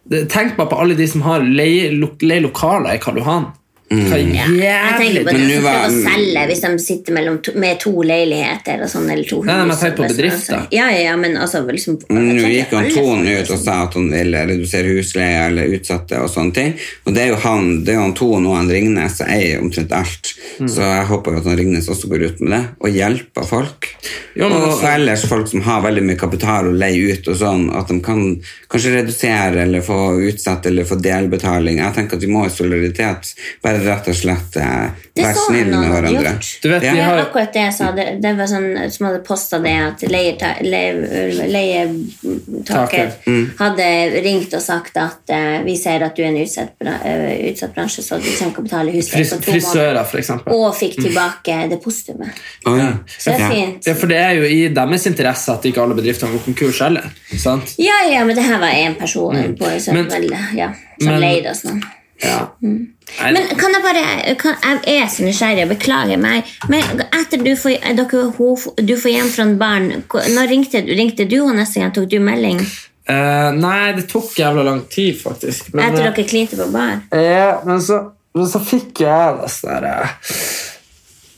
Speaker 1: det, Tenk bare på alle de som har leie lo, leie lokaler i Karl Johan. Hva
Speaker 3: Jeg
Speaker 1: jævlig
Speaker 3: tenker på
Speaker 1: Nei,
Speaker 3: det som
Speaker 2: Men nå
Speaker 3: prøver å
Speaker 2: var-
Speaker 3: selge hvis de sitter mellom to, med to leiligheter og sånn, eller to hus.
Speaker 1: Nei, nei, men tenk på
Speaker 3: og sånn,
Speaker 1: bedrifter.
Speaker 3: altså. Ja, ja, ja, men altså liksom jeg
Speaker 2: Nå
Speaker 3: tenker
Speaker 2: gikk han
Speaker 3: alle
Speaker 2: Ton
Speaker 3: folk,
Speaker 2: ut og sa at han ville redusere husleie eller utsatte og sånne ting. Og det er jo han, det er jo han Ton og han Ringnes som eier omtrent alt. Så jeg håper jo at han Ringnes også går ut med det og hjelper folk.
Speaker 1: Jo, men
Speaker 2: og
Speaker 1: altså-
Speaker 2: ellers folk som har veldig mye kapital å leie ut og sånn, at de kan kanskje redusere eller få utsatt eller få delbetaling. Jeg tenker at vi må i solidaritet bare rett og slett eh,
Speaker 3: Det
Speaker 2: være
Speaker 3: sa
Speaker 2: snille
Speaker 3: han han
Speaker 2: med
Speaker 3: hadde
Speaker 2: hverandre.
Speaker 3: gjort.
Speaker 1: Du vet,
Speaker 2: Ja.
Speaker 1: vi
Speaker 3: Det
Speaker 1: har
Speaker 3: var
Speaker 1: jo
Speaker 3: akkurat det jeg sa. Det, det var sånn som hadde posta det at leieta- le- leietaker
Speaker 1: Taker.
Speaker 2: Mm.
Speaker 3: hadde ringt og sagt at eh, vi ser at du er en utsatt, bra- eh, utsatt bransje, så du kommer til å betale husleie
Speaker 1: fris,
Speaker 3: på Altså, to måneder.
Speaker 1: frisører, for eksempel.
Speaker 3: Og fikk tilbake depositumet.
Speaker 2: Å, ja.
Speaker 3: Så det
Speaker 2: Ja.
Speaker 3: er fint.
Speaker 1: Mm. Ja, for det er jo i deres interesse at ikke alle bedrifter går konkurs heller. sant?
Speaker 3: Ja, ja, men det her var én person på, så,
Speaker 1: Mm. Men-
Speaker 3: vel, ja, som
Speaker 1: men-
Speaker 3: leide sånn. oss noen.
Speaker 1: Ja. Nei,
Speaker 3: Men kan jeg bare kan, Jeg er så nysgjerrig, jeg beklager meg. Men etter du får, dere, hun- du får hjem fra en barn Når ringte, ringte du henne neste gang? Tok du melding?
Speaker 1: Eh, nei, det tok jævla lang tid, faktisk. Men, eh,
Speaker 3: Etter dere klinte på bar?
Speaker 1: Ja, Eh, men så, men så fikk jeg det sånn der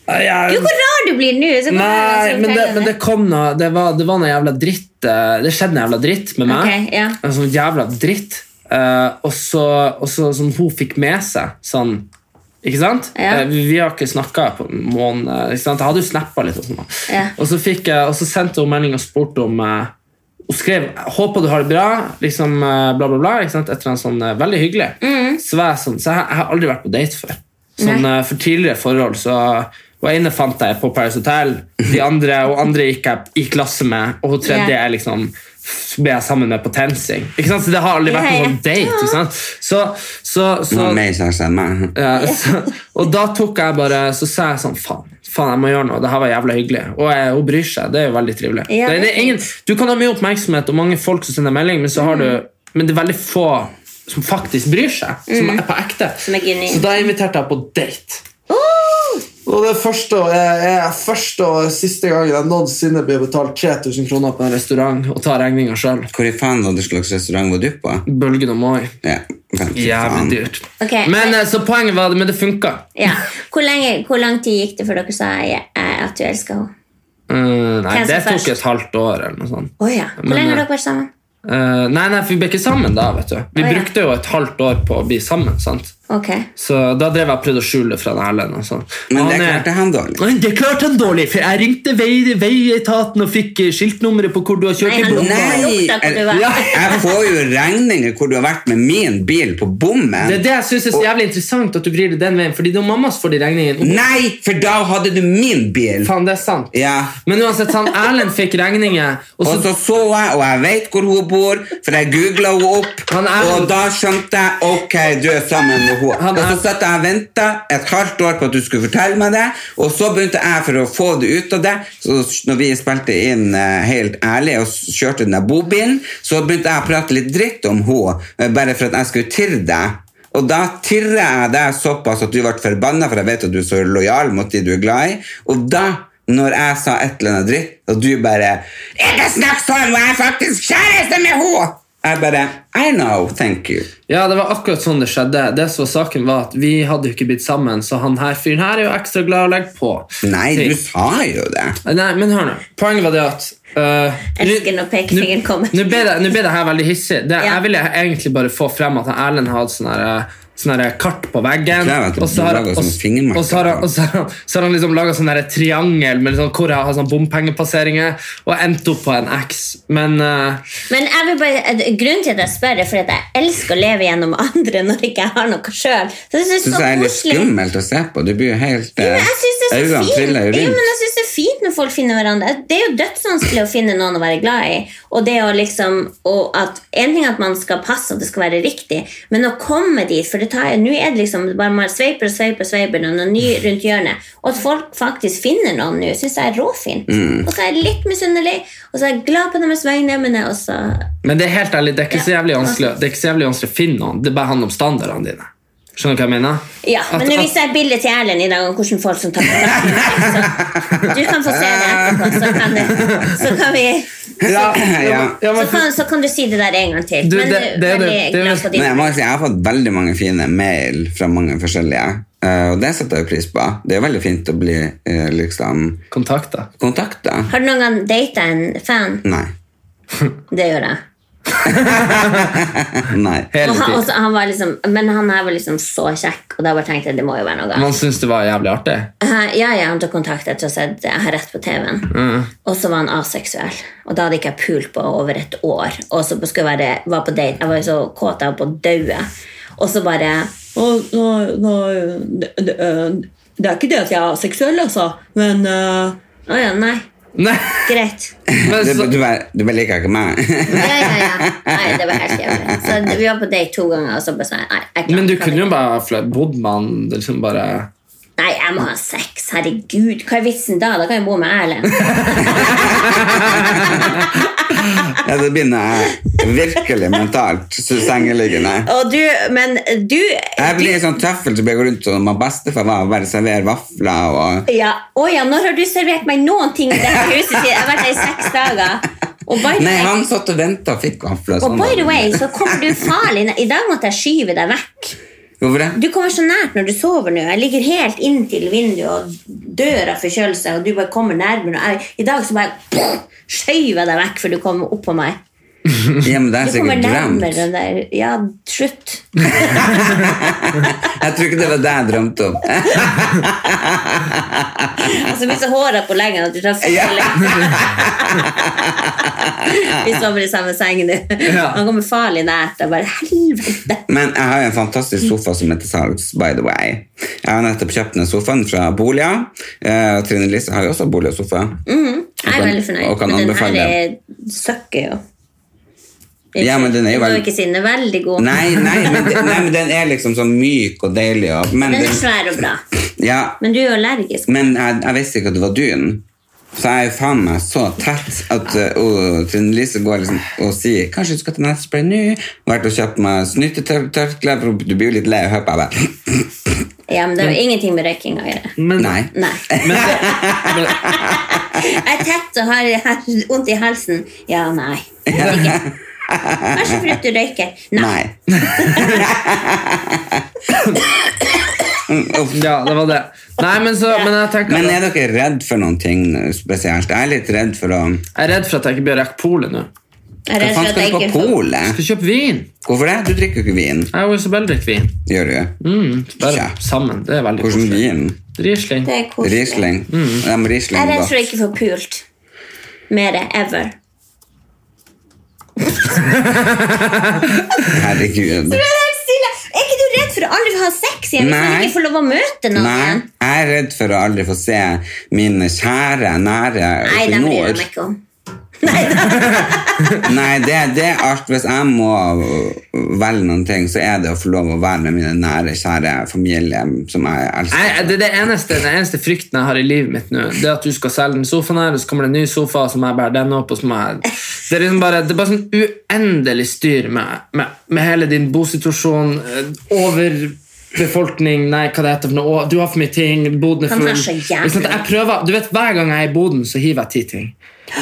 Speaker 1: eh, jeg-
Speaker 3: Du, hvor rar du blir nå! så hvor rar
Speaker 1: Nei,
Speaker 3: jeg er som
Speaker 1: men det,
Speaker 3: forteller
Speaker 1: men det kom noe Det var, det var noe jævla dritt eh, Det skjedde noe jævla dritt med meg.
Speaker 3: Ok, ja.
Speaker 1: En sånn jævla dritt. Eh, og så, og så som hun fikk med seg sånn ikke sant?
Speaker 3: Ja.
Speaker 1: Eh, Vi, vi har ikke snakka på en måned. Ikke sant? Jeg hadde jo snappa litt. Og, sånn. da.
Speaker 3: Ja.
Speaker 1: og, så fikk jeg, og så sendte hun melding og spurte om eh, Hun skrev 'Håper du har det bra', liksom, eh, bla, bla, bla. Ikke sant? Etter en sånn eh, Veldig hyggelig.
Speaker 3: Mm.
Speaker 1: Så, var jeg sånn, så jeg, jeg har aldri vært på date før. Sånn, eh, for tidligere forhold så Hun ene fant jeg på Paris Hotel, de andre, og andre gikk jeg i klasse med, og hun tredje
Speaker 3: Ja.
Speaker 1: er liksom ble jeg sammen med på TenSing. Ikke sant? Så det har aldri vært
Speaker 3: Ja, ja.
Speaker 1: noen sånn date. Ikke sant? Så, så,
Speaker 2: Hun
Speaker 1: så,
Speaker 2: har mer kjæreste enn meg.
Speaker 1: Mm. ja, Eh, så, og da tok jeg bare Så sa jeg sånn, faen, faen jeg må gjøre noe Det her var jævla hyggelig, og jeg, hun bryr seg Det er jo veldig trivelig
Speaker 3: Ja,
Speaker 1: det, det
Speaker 3: det er
Speaker 1: er ingen, Du kan ha mye oppmerksomhet og mange folk som sender melding Men, så har du, men det er veldig få som faktisk bryr seg Som er på ekte
Speaker 3: Mm. er genuin.
Speaker 1: Så da inviterte jeg på date og det er første og, jeg, jeg, første og siste gangen jeg noensinne blir betalt 3000 kroner på en restaurant og tar regningen selv.
Speaker 2: Hvor i faen var det slags restaurant var du på?
Speaker 1: Bølgen og Moi.
Speaker 2: Ja, fy
Speaker 1: Jævlig
Speaker 2: faen.
Speaker 1: dyrt.
Speaker 3: Ok,
Speaker 1: Men eh, så poenget var det, men det funket.
Speaker 3: Ja. Hvor, lenge, hvor lang tid gikk det før dere sa jeg, jeg, at du elsker henne?
Speaker 1: Mm, nei,
Speaker 3: Hvem som
Speaker 1: det tok
Speaker 3: først?
Speaker 1: et halvt år eller noe sånt.
Speaker 3: Å ja. Hvor
Speaker 1: Men,
Speaker 3: lenge har
Speaker 1: eh,
Speaker 3: dere vært sammen?
Speaker 1: Eh, nei, nei, for vi ble ikke sammen da, vet du. Vi
Speaker 3: Å, ja.
Speaker 1: brukte jo et halvt år på å bli sammen, sant?
Speaker 3: Ok.
Speaker 1: Så da drev jeg og prøvde å skjule det fra den Erlend og sånn. Og
Speaker 2: Men det
Speaker 1: han er-
Speaker 2: klarte han dårlig.
Speaker 1: Men det klarte han dårlig, for jeg ringte vei, veietaten og fikk eh, skiltnummeret på hvor du har kjørt
Speaker 3: Nei,
Speaker 1: i
Speaker 3: han
Speaker 1: bommen.
Speaker 3: lukta,
Speaker 2: Nei,
Speaker 3: lukta hvor du var.
Speaker 1: Ja.
Speaker 2: Jeg får jo regninger hvor du har vært med min bil på bommen.
Speaker 1: Det er det jeg synes er så jævlig interessant at du vrir det den veien, fordi det er jo mamma som får de regningene.
Speaker 2: Nei, for da hadde du min bil!
Speaker 1: Faen, det er sant.
Speaker 2: Ja.
Speaker 1: Men uansett, han Erlend fikk regninger, og
Speaker 2: Og
Speaker 1: så
Speaker 2: så så jeg, og jeg vet hvor hun bor, for jeg googla henne opp.
Speaker 1: Han er-
Speaker 2: Og da skjønte jeg ok, du er sammen med henne.
Speaker 1: Han
Speaker 2: Og så
Speaker 1: er-
Speaker 2: satt jeg og venta et halvt år på at du skulle fortelle meg det, og så begynte jeg for å få det ut av det. Så når vi spilte inn eh, Helt ærlig og s- kjørte den der bobilen, så begynte jeg å prate litt dritt om henne, eh, bare for at jeg skulle tirre deg. Og da tirrer jeg deg såpass at du ble forbanna, for jeg vet at du er så lojal mot de du er glad i. Og da, når jeg sa et eller annet dritt, og du bare 'Ikke snakk sånn! Jeg er faktisk kjæreste med henne!' Jeg bare I know, thank you.
Speaker 1: Ja, det var akkurat sånn det skjedde. Det som var saken var at Vi hadde jo ikke blitt sammen, så han her fyren her er jo ekstra glad å legge på.
Speaker 2: Nei,
Speaker 1: Ting.
Speaker 2: du sa jo det.
Speaker 1: Nei, men hør nå. Poenget var det at uh,
Speaker 3: Elsker når pekefingeren kommer.
Speaker 1: Nå ble, det- nå ble det her veldig hissig. Det,
Speaker 3: Ja.
Speaker 1: Jeg ville egentlig bare få frem at han Erlend hadde sånn her eh, sånn her kart på veggen.
Speaker 2: Det er jo at du
Speaker 1: Og så har og- og
Speaker 2: lager sånne fingermerker.
Speaker 1: så har han- og så har han- så har han liksom laga sånn her triangel med liksom, hvor jeg har sånn bompengepasseringer, og endte opp på en X. Men eh,
Speaker 3: Men jeg vil bare, eh, Grunnen til at jeg spør, er fordi at jeg elsker å leve gjennom (laughs) andre når ikke jeg har noe sjøl. Det er
Speaker 2: Syns
Speaker 3: så
Speaker 2: jeg er litt
Speaker 3: koselig.
Speaker 2: skummelt å se på. Du blir jo helt
Speaker 3: Men
Speaker 2: eh,
Speaker 3: Jeg synes det er så
Speaker 2: Øynene
Speaker 3: fint
Speaker 2: triller jo
Speaker 3: Jo, men
Speaker 2: rundt.
Speaker 3: jeg synes det er fint når folk finner hverandre. Det er jo dødsvanskelig å finne noen å være glad i. Og det å liksom og at, En ting er at man skal passe at det skal være riktig, men å komme dit For det det tar jeg. Nå er det liksom bare man sveiper og sveiper og sveiper og noen ny rundt hjørnet. Og at folk faktisk finner noen nå, syns jeg er råfint. Og så er jeg litt misunnelig, og så er jeg glad på deres vegne, men jeg også
Speaker 1: Men det er helt ærlig, det er ikke så
Speaker 3: altså-
Speaker 1: jævlig vanskelig Det er ikke så jævlig vanskelig å finne noen. Det bare handler om standardene dine. Skjønner du hva jeg mener?
Speaker 3: Ja,
Speaker 1: At-
Speaker 3: men nå
Speaker 1: at-
Speaker 3: viser jeg et bilde til Erlend i dag om hvordan folk som tar kontakt med meg. Så du kan få se det etterpå, så kan, det, så kan vi
Speaker 1: ja,
Speaker 2: Ja.
Speaker 1: ja,
Speaker 3: så
Speaker 1: men,
Speaker 3: kan, så kan du si det der en gang til.
Speaker 1: Du,
Speaker 3: men
Speaker 1: det- det er
Speaker 3: veldig
Speaker 1: det- det er
Speaker 3: glad
Speaker 1: vel-
Speaker 3: for
Speaker 2: Men
Speaker 3: din.
Speaker 2: jeg må si, jeg har fått veldig mange fine mail fra mange forskjellige, eh, og det setter jeg pris på. Det er veldig fint å bli eh, liksom
Speaker 1: kontakter.
Speaker 2: kontakta.
Speaker 3: Har du noen gang data en fan?
Speaker 2: Nei. (laughs)
Speaker 3: Det gjør jeg.
Speaker 2: Nei.
Speaker 3: Og
Speaker 1: Hele
Speaker 3: han, og
Speaker 1: tiden.
Speaker 3: så han var liksom, men han her var liksom så kjekk, og da bare tenkte jeg det må jo være noe.
Speaker 1: Man syns det var jævlig artig.
Speaker 3: Eh, Ja, ja, han tok kontakt etter å ha sett Jeg har rett på TV-en.
Speaker 1: Mm.
Speaker 3: Og så var han aseksuell. Og da hadde ikke jeg pult på over et år. Og så skulle jeg være, var på date. Jeg var jo så kåt jeg var på å daue. Og så bare
Speaker 5: Og nei, nei det, det, eh, det er ikke det at jeg er seksuell, altså. Men eh,
Speaker 3: Å ja, nei.
Speaker 1: (laughs) Nei,
Speaker 3: Greit.
Speaker 1: men
Speaker 2: Du,
Speaker 1: så,
Speaker 2: du, bare- du bare liker ikke meg. (laughs)
Speaker 3: Ja, ja, ja. Nei, det var helt jævlig. Så det- vi var på date to ganger, og så bare sånn Nei, jeg klarer-
Speaker 1: men du
Speaker 3: kan
Speaker 1: kunne jo
Speaker 3: ikke.
Speaker 1: bare flø- bodd med han liksom bare
Speaker 3: Nei, jeg må ha sex. Herregud, hva er vitsen da? Da kan jeg bo med Erlend.
Speaker 2: ja, da begynner jeg virkelig mentalt så sengeliggende.
Speaker 3: (laughs) Og du, men du
Speaker 2: Jeg blir sånn tøffel som jeg går rundt som om bestefar var og bare serverer vafler og
Speaker 3: Ja. Å ja, når har du servert meg noen ting i dette huset? siden Jeg har vært her i seks dager. Og by the
Speaker 2: Nei,
Speaker 3: way-
Speaker 2: han satt og venta og sånn fikk vafler.
Speaker 3: og by the way, så kommer du farlig nær- I dag måtte jeg skyve deg vekk.
Speaker 2: Hvorfor det?
Speaker 3: Du kommer så nært når du sover nå. Jeg ligger helt inntil vinduet og dør av forkjølelse, og du bare kommer nærmere. Og jeg, I dag så bare skjøv jeg deg vekk før du kom opp på meg.
Speaker 2: Ja, men det er
Speaker 3: Du kommer
Speaker 2: sikkert
Speaker 3: nærmere
Speaker 2: drømt.
Speaker 3: den der Ja, slutt.
Speaker 2: Jeg tror ikke det var det jeg drømte om.
Speaker 3: Altså, hvis jeg håret på leggen at du tar full
Speaker 2: (laughs) Ja.
Speaker 3: Vi sover i samme seng nå.
Speaker 1: Ja.
Speaker 3: Han kommer farlig nært. Jeg bare Helvete!
Speaker 2: Men jeg har jo en fantastisk sofa som er til salgs, by the way. Jeg har nettopp kjøpt den sofaen fra Bolia. Eh, Trine Lise har jo også Bolia-sofa.
Speaker 3: Mhm. Jeg er
Speaker 2: kan-
Speaker 3: veldig
Speaker 2: og
Speaker 3: fornøyd.
Speaker 2: kan
Speaker 3: Men den
Speaker 2: anbefale
Speaker 3: her er søkker jo.
Speaker 2: Ja, men den er jo
Speaker 3: Du må
Speaker 2: veld-
Speaker 3: jo ikke si den er veldig god.
Speaker 2: Nei, nei, men, de- nei, men den er liksom så myk og deilig. Og, men
Speaker 3: Den er
Speaker 2: den,
Speaker 3: svær og bra.
Speaker 2: ja,
Speaker 3: Men du er jo allergisk.
Speaker 2: men jeg, jeg visste ikke at det var dyn. Så jeg er faen meg så tett at eh, og Trine Lise går liksom og sier Kanskje du skal til nettspray nå? Vært og kjøpt meg snyttetørkle, for du blir jo litt lei av å høre på. Jeg bare,
Speaker 3: Ja, men det har jo ingenting med røyking å gjøre.
Speaker 1: men,
Speaker 2: Nei.
Speaker 3: Nei.
Speaker 2: (laughs)
Speaker 1: men,
Speaker 3: Jeg (laughs) er tett og har har vondt i halsen. Ja, nei. Jeg vet
Speaker 2: (laughs)
Speaker 3: ikke. Kanskje fordi du røyker. Nei.
Speaker 2: Nei. Uff.
Speaker 1: Ja, det var det. Nei, men så Men jeg tenker
Speaker 2: Men er dere redd for noen ting spesielt? Jeg er litt redd for å
Speaker 1: Jeg er redd for at jeg ikke blir rekke polet nå.
Speaker 3: Jeg er
Speaker 2: Hva
Speaker 3: redd
Speaker 2: faen
Speaker 3: for at
Speaker 2: skal
Speaker 3: jeg
Speaker 2: du på
Speaker 3: ikke får
Speaker 2: polet?
Speaker 1: Skal kjøpe vin.
Speaker 2: Hvorfor det? Du drikker jo ikke vin.
Speaker 1: Jeg og Isabel drikker vin.
Speaker 2: Gjør du?
Speaker 1: Mm, bare
Speaker 2: Tja.
Speaker 1: sammen. Det er veldig
Speaker 2: Hvordan vin?
Speaker 1: Riesling.
Speaker 3: Det er koselig.
Speaker 2: Riesling.
Speaker 3: Mm.
Speaker 2: Ja, men Riesling
Speaker 3: Jeg er
Speaker 2: er
Speaker 3: redd for å
Speaker 2: godt.
Speaker 3: ikke få pult. Mere ever.
Speaker 2: Herregud.
Speaker 3: Helt stille. Er ikke du redd for å aldri ha sex igjen? Hvis
Speaker 2: Nei.
Speaker 3: man ikke får lov å møte noen
Speaker 2: Nei,
Speaker 3: igjen?
Speaker 2: jeg er redd for å aldri få se mine kjære nære
Speaker 3: Nei,
Speaker 2: oppe i
Speaker 3: det bryr jeg
Speaker 2: nord.
Speaker 3: meg ikke om.
Speaker 2: Nei, det, det er alt. Hvis jeg må velge noen ting, så er det å få lov å være med mine nære, kjære familie, som jeg elsker.
Speaker 1: Nei, det, er det eneste, den eneste frykten jeg har i livet mitt nå, det er at du skal selge den sofaen her, og så kommer det en ny sofa, og så må jeg bære den opp, og så må jeg Det er liksom bare, det er bare sånn uendelig styr med, med, med hele din bosituasjon, eh, overbefolkning, nei, hva det heter for noe, og du har for mye ting, boden er
Speaker 3: Han
Speaker 1: full
Speaker 3: har så jævlig
Speaker 1: Ikke sant? Jeg prøver, Du vet, hver gang jeg er i boden, så hiver jeg ti ting.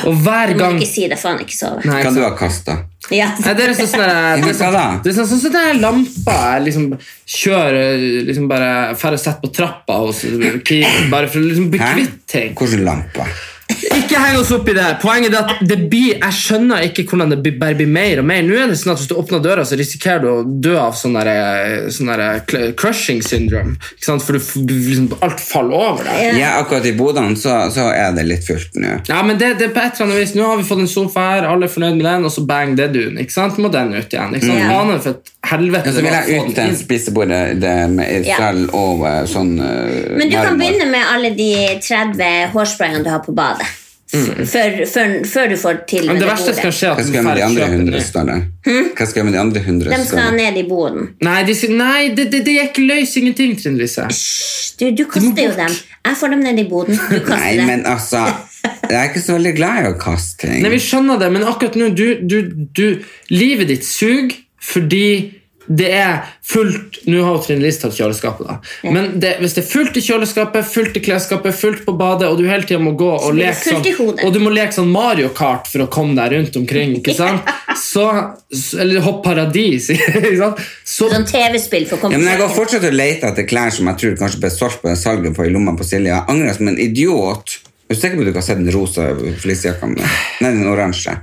Speaker 1: Og hver
Speaker 3: Du må
Speaker 1: gang
Speaker 3: ikke si det, faen ikke sove.
Speaker 1: Nei, ikke
Speaker 2: Kan
Speaker 1: sant?
Speaker 2: du ha kasta?
Speaker 3: Ja.
Speaker 1: Nei, det er liksom sånn der- det er
Speaker 2: Ja, hva
Speaker 1: sånn-
Speaker 2: da?
Speaker 1: det er sånn sånn som den lampa jeg liksom kjører liksom bare færre sett på trappa hos Kiwi, bare for å liksom bli
Speaker 2: Hæ?
Speaker 1: kvitt ting.
Speaker 2: Hvilken lampe?
Speaker 1: Ikke heng oss opp i det. Poenget er at det blir, jeg skjønner ikke hvordan det blir, bare blir mer og mer. Nå er det sånn at Hvis du åpner døra, så risikerer du å dø av sånn der, sånn der cl- crushing syndrome. Ikke sant? For du, f- liksom, alt faller over deg.
Speaker 2: Ja, akkurat i Bodøen så, så er det litt fullt nå.
Speaker 1: Ja, men det, det er på et eller annet vis Nå har vi fått en sofa her, alle er fornøyd med den, og så bang, det er dun. Ikke sant? Må den ut igjen. Ikke sant?
Speaker 3: Ja.
Speaker 1: Faen, for et helvete
Speaker 3: Altså,
Speaker 1: det var å
Speaker 2: Mm. Ja, så vil jeg
Speaker 1: få
Speaker 2: ut
Speaker 1: den
Speaker 2: til
Speaker 1: inn.
Speaker 2: en spisebord det med
Speaker 3: Ja.
Speaker 2: sølv og eh, sånn eh,
Speaker 3: Men du kan
Speaker 2: marmor.
Speaker 3: begynne med alle de 30 hårsprayene du har på badet. f- før, før, før du får til
Speaker 1: Men
Speaker 3: med
Speaker 1: det
Speaker 3: det
Speaker 1: verste skal
Speaker 3: bordet.
Speaker 1: skje at
Speaker 2: Hva skal jeg med de andre
Speaker 1: kjøper
Speaker 2: hundre
Speaker 1: ny.
Speaker 2: stående? Hva skal jeg med de andre hundre
Speaker 3: De Hm? skal
Speaker 2: stående?
Speaker 3: ned i boden.
Speaker 1: Nei, de, sier- nei det, det, det er ikke løs ingenting, Trine Lise.
Speaker 3: Du, du
Speaker 1: må
Speaker 3: kaster jo
Speaker 1: bort.
Speaker 3: dem. Jeg får dem ned i boden. Du kaster
Speaker 2: Nei,
Speaker 3: dem.
Speaker 2: men altså
Speaker 3: (laughs)
Speaker 2: Jeg er ikke så veldig glad i å kaste ting.
Speaker 1: Nei, vi skjønner det, men akkurat nå du, du, du, Livet ditt suger fordi det er fullt Nå har jo Trine Lise tatt kjøleskapet, da. Men det, hvis det er fullt i kjøleskapet, fullt i klesskapet, fullt på badet, og du hele tiden må gå og
Speaker 3: blir det
Speaker 1: leke sånn
Speaker 3: fullt i hodet.
Speaker 1: Og du må leke sånn Mario Kart for å komme deg rundt omkring, ikke sant? Så, s- eller Hopp Paradis, (laughs) ikke sant? Så
Speaker 3: Sånn TV-spill for å komme
Speaker 2: Ja, men jeg
Speaker 3: på
Speaker 2: går
Speaker 3: kjøkkenet.
Speaker 2: fortsatt og leter etter klær som jeg tror kanskje ble solgt på det salget på i lomma på Silje. Jeg angrer som en idiot. Er du sikker på at du ikke har sett den rosa fleecejakka mi? Nei, den oransje.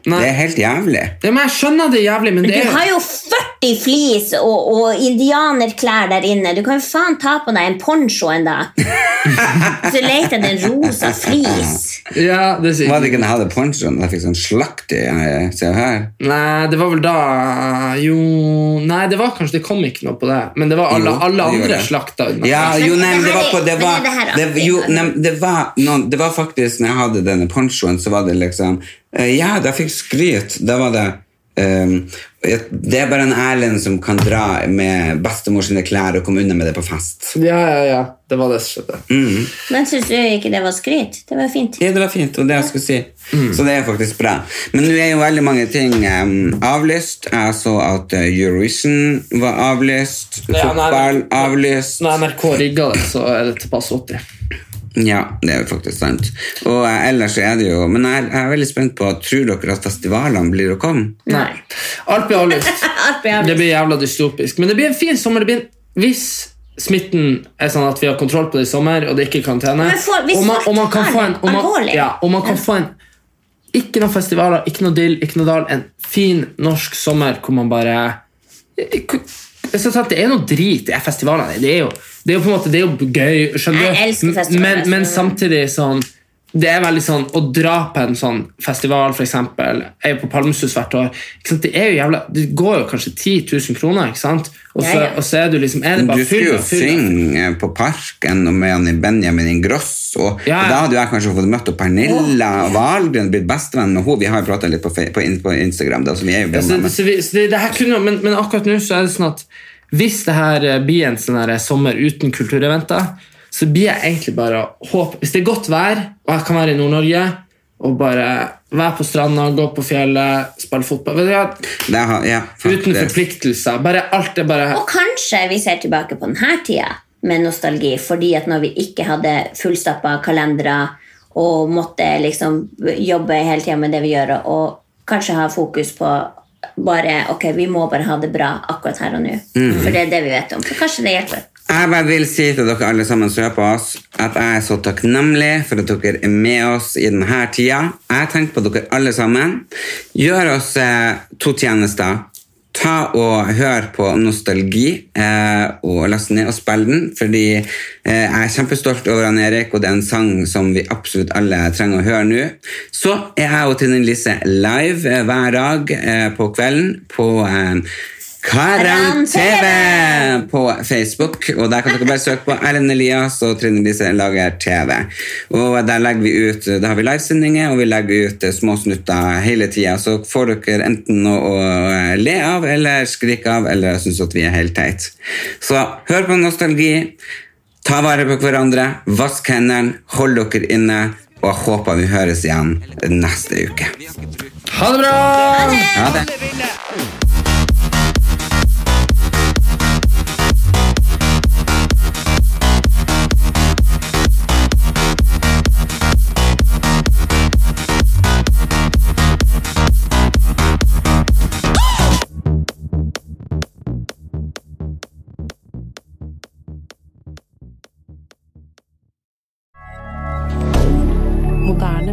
Speaker 2: Det er helt jævlig.
Speaker 1: ja, men Jeg skjønner det jævlig, men det
Speaker 3: Du
Speaker 1: er
Speaker 3: har jo 40 flis og, og indianerklær der inne. Du kan jo faen ta på deg en poncho en
Speaker 1: (laughs)
Speaker 3: dag. Så leter jeg den rosa flis.
Speaker 1: ja, det sier-
Speaker 2: Var det ikke da jeg hadde ponchoen og jeg fikk sånn slakt i eh, Se og Hør?
Speaker 1: Nei, det var vel da Jo Nei, det var kanskje det kom ikke noe på det. Men det var alle,
Speaker 2: Jo,
Speaker 1: alle
Speaker 2: det gjorde
Speaker 1: andre
Speaker 2: det.
Speaker 1: slakta unna.
Speaker 2: Ja,
Speaker 3: Men
Speaker 2: jo,
Speaker 3: er
Speaker 2: nei,
Speaker 3: det
Speaker 2: men det
Speaker 3: her-
Speaker 2: var på Det
Speaker 3: men
Speaker 2: var,
Speaker 3: er det her
Speaker 2: det,
Speaker 3: artig?
Speaker 2: jo, nei, men det, var noen, det var faktisk Når jeg hadde denne ponchoen, så var det liksom eh, Ja, da fikk jeg skryt. Da var det eh, Det er bare en Erlend som kan dra med bestemor sine klær og komme unna med det på fest.
Speaker 1: Ja, ja, ja. Det var det som skjedde.
Speaker 3: Men syns du ikke det var skryt? Det var fint.
Speaker 2: Ja, det var fint, og det jeg skulle si.
Speaker 1: Mm.
Speaker 2: Så det er faktisk bra. Men nå er jo veldig mange ting em, avlyst. Jeg så at eh, Eurovision var avlyst.
Speaker 1: Ja, nei,
Speaker 2: fotball
Speaker 1: det-
Speaker 2: avlyst.
Speaker 1: Når NRK rigga det, så er det tilpass 80.
Speaker 2: Ja, det er jo faktisk sant. Og eh, ellers er det jo Men jeg, jeg er veldig spent på Tror dere at festivalene blir å komme?
Speaker 1: Nei.
Speaker 3: (laughs)
Speaker 1: Alt blir avlyst.
Speaker 3: Alt blir
Speaker 1: Det
Speaker 3: avlyst.
Speaker 1: blir jævla dystopisk. Men det blir en fin sommer. Det blir en, hvis smitten er sånn at vi har kontroll på det i sommer, og det ikke er karantene
Speaker 3: Men for- hvis
Speaker 1: og, man, og man kan
Speaker 3: folk
Speaker 1: få en, og man,
Speaker 3: alvorlig.
Speaker 1: ja, og man kan få en Ikke noen festivaler, ikke noe dill, ikke noe dal. En fin norsk sommer hvor man bare Jeg synes at Det er noe drit i festivalene. Det er jo, det er jo på en måte Det er jo gøy,
Speaker 3: Jeg
Speaker 1: skjønner
Speaker 3: elsker
Speaker 1: du?
Speaker 3: festivaler,
Speaker 1: Men, men
Speaker 3: så-
Speaker 1: samtidig sånn det er veldig sånn, Å dra på en sånn festival, for eksempel Jeg er jo på Palmesus hvert år. Ikke sant? Det er jo jævla, det går jo kanskje 10 000 kroner, ikke sant? Og så,
Speaker 3: Ja, ja.
Speaker 1: og så er du liksom Er det
Speaker 2: Du
Speaker 1: bare
Speaker 2: skulle
Speaker 1: fyll
Speaker 2: jo
Speaker 1: og fyll?
Speaker 2: synge på Parken og med han i Benjamin Ingrosso. Og,
Speaker 1: Ja, ja.
Speaker 2: og da hadde jo jeg kanskje fått møtt opp Pernilla Wahlgren, blitt bestevenn med henne. Vi har jo prata litt på, fe- på, in- på Instagram. Da, så vi er jo
Speaker 1: Ja, Så,
Speaker 2: venner.
Speaker 1: så vi, så det, det her kunne, men, men akkurat nå så er det sånn at hvis det her eh, blir en sånn her sommer uten kultureventer, så blir jeg egentlig bare håp Hvis det er godt vær, og jeg kan være i Nord-Norge og bare være på stranda, gå på fjellet, spille fotball Vet du hva?
Speaker 2: Det har- ja,
Speaker 1: Uten
Speaker 2: faktisk.
Speaker 1: forpliktelser. Bare alt er bare
Speaker 3: Og kanskje vi ser tilbake på denne tida med nostalgi, fordi at når vi ikke hadde fullstappa kalendere og måtte liksom jobbe hele tida med det vi gjør, og kanskje ha fokus på bare ok, vi må bare ha det bra akkurat her og nå. For det er det vi vet om. Så kanskje det hjelper.
Speaker 2: Jeg bare vil si til dere alle sammen som hører på oss, at jeg er så takknemlig for at dere er med oss i denne tida. Jeg tenker på dere alle sammen. Gjør oss eh, to tjenester. Ta og hør på Nostalgi, eh, og last ned og spill den. Fordi eh, jeg er kjempestolt over han Erik, og det er en sang som vi absolutt alle trenger å høre nå. Så er jeg og Trine Lise live eh, hver dag eh, på kvelden på eh, Karan TV Eh, på Facebook, og der kan dere bare søke på Erlend Elias og Trine Lise lager TV. Og der legger vi ut, da har vi livesendinger, og vi legger ut eh, små snutter hele tida, så får dere enten noe å eh, le av, eller skrike av, eller synes at vi er helt teit. Så hør på nostalgi, ta vare på hverandre, vask hendene, hold dere inne, og jeg håper vi høres igjen neste uke.
Speaker 1: Ha det bra!
Speaker 2: Ha det!
Speaker 6: Alle ville.
Speaker 7: Moderne